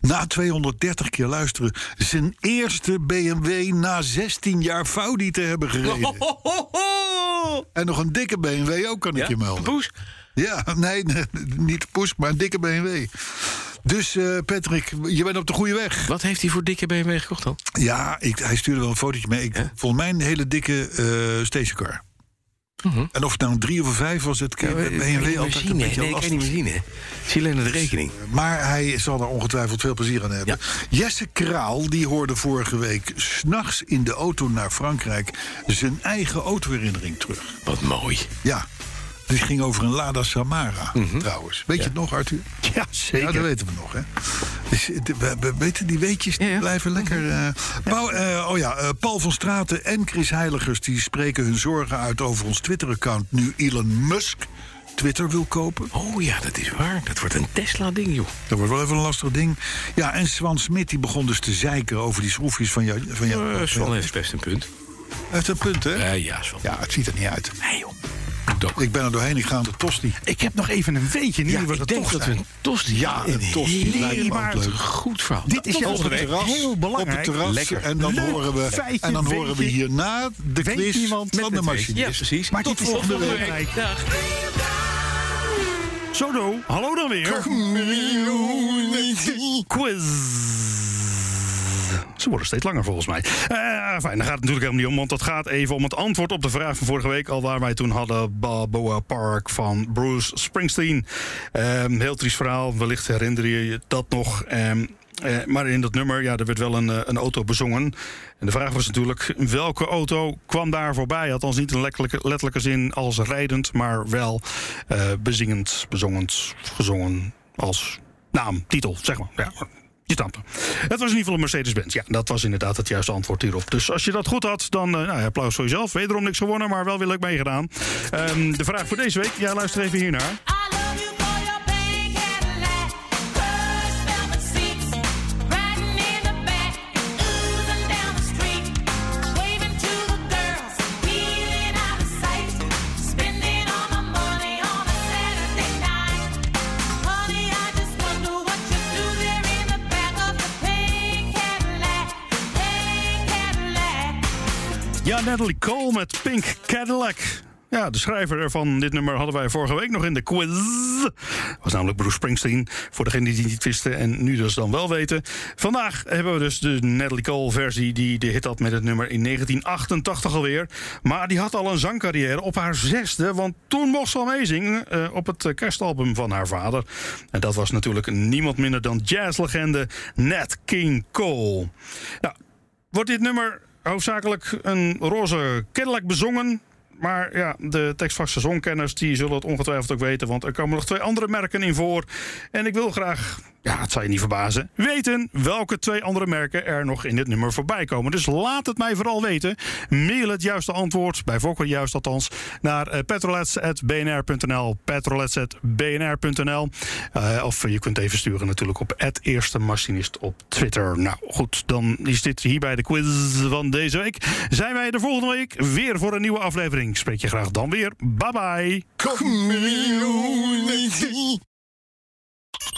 Speaker 2: Na 230 keer luisteren, zijn eerste BMW na 16 jaar Faudi te hebben gereden.
Speaker 3: Oh.
Speaker 2: En nog een dikke BMW ook, kan ik je melden.
Speaker 3: Poes?
Speaker 2: Ja, nee, nee, niet de poes, maar een dikke BMW. Dus eh, Patrick, je bent op de goede weg.
Speaker 3: Wat heeft hij voor dikke BMW gekocht dan?
Speaker 2: Ja, ik, hij stuurde wel een fotootje mee. Ik,
Speaker 3: Ja?
Speaker 2: Volgens mij een hele dikke eh stationcar. En of het nou een drie of een vijf was, het kan
Speaker 3: Mhm. eh, Ik kan je
Speaker 2: BMW
Speaker 3: niet meer
Speaker 2: altijd een
Speaker 3: zien, hè?
Speaker 2: beetje
Speaker 3: Nee, ik kan
Speaker 2: lastig. Dus- Eh,
Speaker 3: je niet meer zien, hè? Ik zie alleen de rekening.
Speaker 2: Maar hij zal er ongetwijfeld veel plezier aan hebben. Jesse Kraal, die hoorde vorige week... s'nachts in de auto naar Frankrijk... zijn eigen autoherinnering terug.
Speaker 3: Wat mooi.
Speaker 2: Ja. Dit ging over een Lada Samara,
Speaker 3: Mhm.
Speaker 2: trouwens. Weet je het nog, Arthur? Ja, zeker. dat weten we nog, hè. Dus, eh, de- we, we weten, die weetjes die
Speaker 3: Ja, ja.
Speaker 2: blijven lekker... eh, Wou- eh, oh ja, eh, Paul van Straten en Chris Heiligers... die spreken hun zorgen uit over ons Twitter-account... nu Elon Musk Twitter wil kopen.
Speaker 3: Oh ja, dat is waar. Dat wordt een Tesla-ding, joh.
Speaker 2: Dat wordt wel even een lastig ding. Ja, en Swan Smit die begon dus te zeiken over die schroefjes van jou. Van jou
Speaker 3: Eh,
Speaker 2: van
Speaker 3: Swan
Speaker 2: jou.
Speaker 3: heeft best een punt.
Speaker 2: Heeft een punt, hè?
Speaker 3: Eh, ja, Swan.
Speaker 2: Ja, het ziet er niet uit.
Speaker 3: Nee, joh. Doet ook.
Speaker 2: Ik ben er doorheen, ik ga aan de tosti.
Speaker 4: Ik heb nog even een weetje. Nu
Speaker 3: Ja,
Speaker 4: wordt
Speaker 3: ik
Speaker 4: het
Speaker 3: denk
Speaker 4: toch
Speaker 3: dat we
Speaker 4: zijn.
Speaker 3: een tosti...
Speaker 2: Ja, een tosti lijkt me ook
Speaker 3: maar
Speaker 2: leuk.
Speaker 3: goed verhaal.
Speaker 4: Dit is juist
Speaker 2: op het
Speaker 4: een
Speaker 2: terras.
Speaker 4: heel
Speaker 2: Op het
Speaker 4: belangrijk.
Speaker 2: terras.
Speaker 3: Lekker.
Speaker 2: En dan
Speaker 4: Leuk
Speaker 2: horen we,
Speaker 4: feitje,
Speaker 2: en dan horen we
Speaker 4: weetje.
Speaker 2: hierna de
Speaker 4: Weet
Speaker 2: quiz
Speaker 4: iemand
Speaker 2: van de
Speaker 3: Ja,
Speaker 2: machinist.
Speaker 3: precies.
Speaker 4: Maar
Speaker 3: Tot
Speaker 4: dit is toch
Speaker 3: volgende week.
Speaker 4: belangrijk.
Speaker 3: Dag.
Speaker 4: Zo, do. hallo dan weer. Quiz. Ze worden steeds langer volgens mij. Eh fijn, daar gaat het natuurlijk helemaal niet om, want dat gaat even om het antwoord op de vraag van vorige week. Al waar wij toen hadden Balboa Park van Bruce Springsteen. Ehm, heel triest verhaal, wellicht herinner je je dat nog. Ehm, eh, maar in dat nummer, ja, er werd wel een, eh, een auto bezongen. En de vraag was natuurlijk, welke auto kwam daar voorbij? Althans niet in letterlijke, letterlijke zin als rijdend, maar wel eh, bezingend, bezongend, gezongen als naam, titel, zeg maar. Ja, je snapt hem. Het was in ieder geval een Mercedes-Benz. Ja, dat was inderdaad het juiste antwoord hierop. Dus als je dat goed had, dan eh, nou, ja, applaus voor jezelf. Wederom niks gewonnen, maar wel weer leuk meegedaan. Ehm, de vraag voor deze week, ja, luister even hiernaar.
Speaker 7: I love you for your pink Cadillac, crushed velvet seats, riding in the back, oozing down the street, waving to the girls, peeling out of sight, spending all my money on a Saturday night. Honey, I just wonder what you do there in the back of the pink Cadillac, pink Cadillac.
Speaker 4: Ja, Natalie Cole met Pink Cadillac. Ja, de schrijver van dit nummer hadden wij vorige week nog in de quiz. was namelijk Bruce Springsteen, voor degenen die het niet wisten en nu dus dan wel weten. Vandaag hebben we dus de Natalie Cole-versie die de hit had met het nummer in 1988 alweer. Maar die had al een zangcarrière op haar zesde, want toen mocht ze al meezingen eh, op het eh, kerstalbum van haar vader. En dat was natuurlijk niemand minder dan jazzlegende Nat King Cole. Nou, wordt dit nummer hoofdzakelijk een roze Cadillac bezongen. Maar ja, de tekstvaste zongkenners die zullen het ongetwijfeld ook weten... want er komen nog twee andere merken in voor. En ik wil graag, ja, het zal je niet verbazen... weten welke twee andere merken er nog in dit nummer voorbij komen. Dus laat het mij vooral weten. Mail het juiste antwoord, bij voorkeur juist althans... naar eh, petrolets.bnr.nl, petrolets.bnr.nl. Eh, of je kunt even sturen natuurlijk op het eerste machinist op Twitter. Nou goed, dan is dit hierbij de quiz van deze week. Zijn wij de volgende week weer voor een nieuwe aflevering. Ik Spreek je graag dan weer. Bye bye.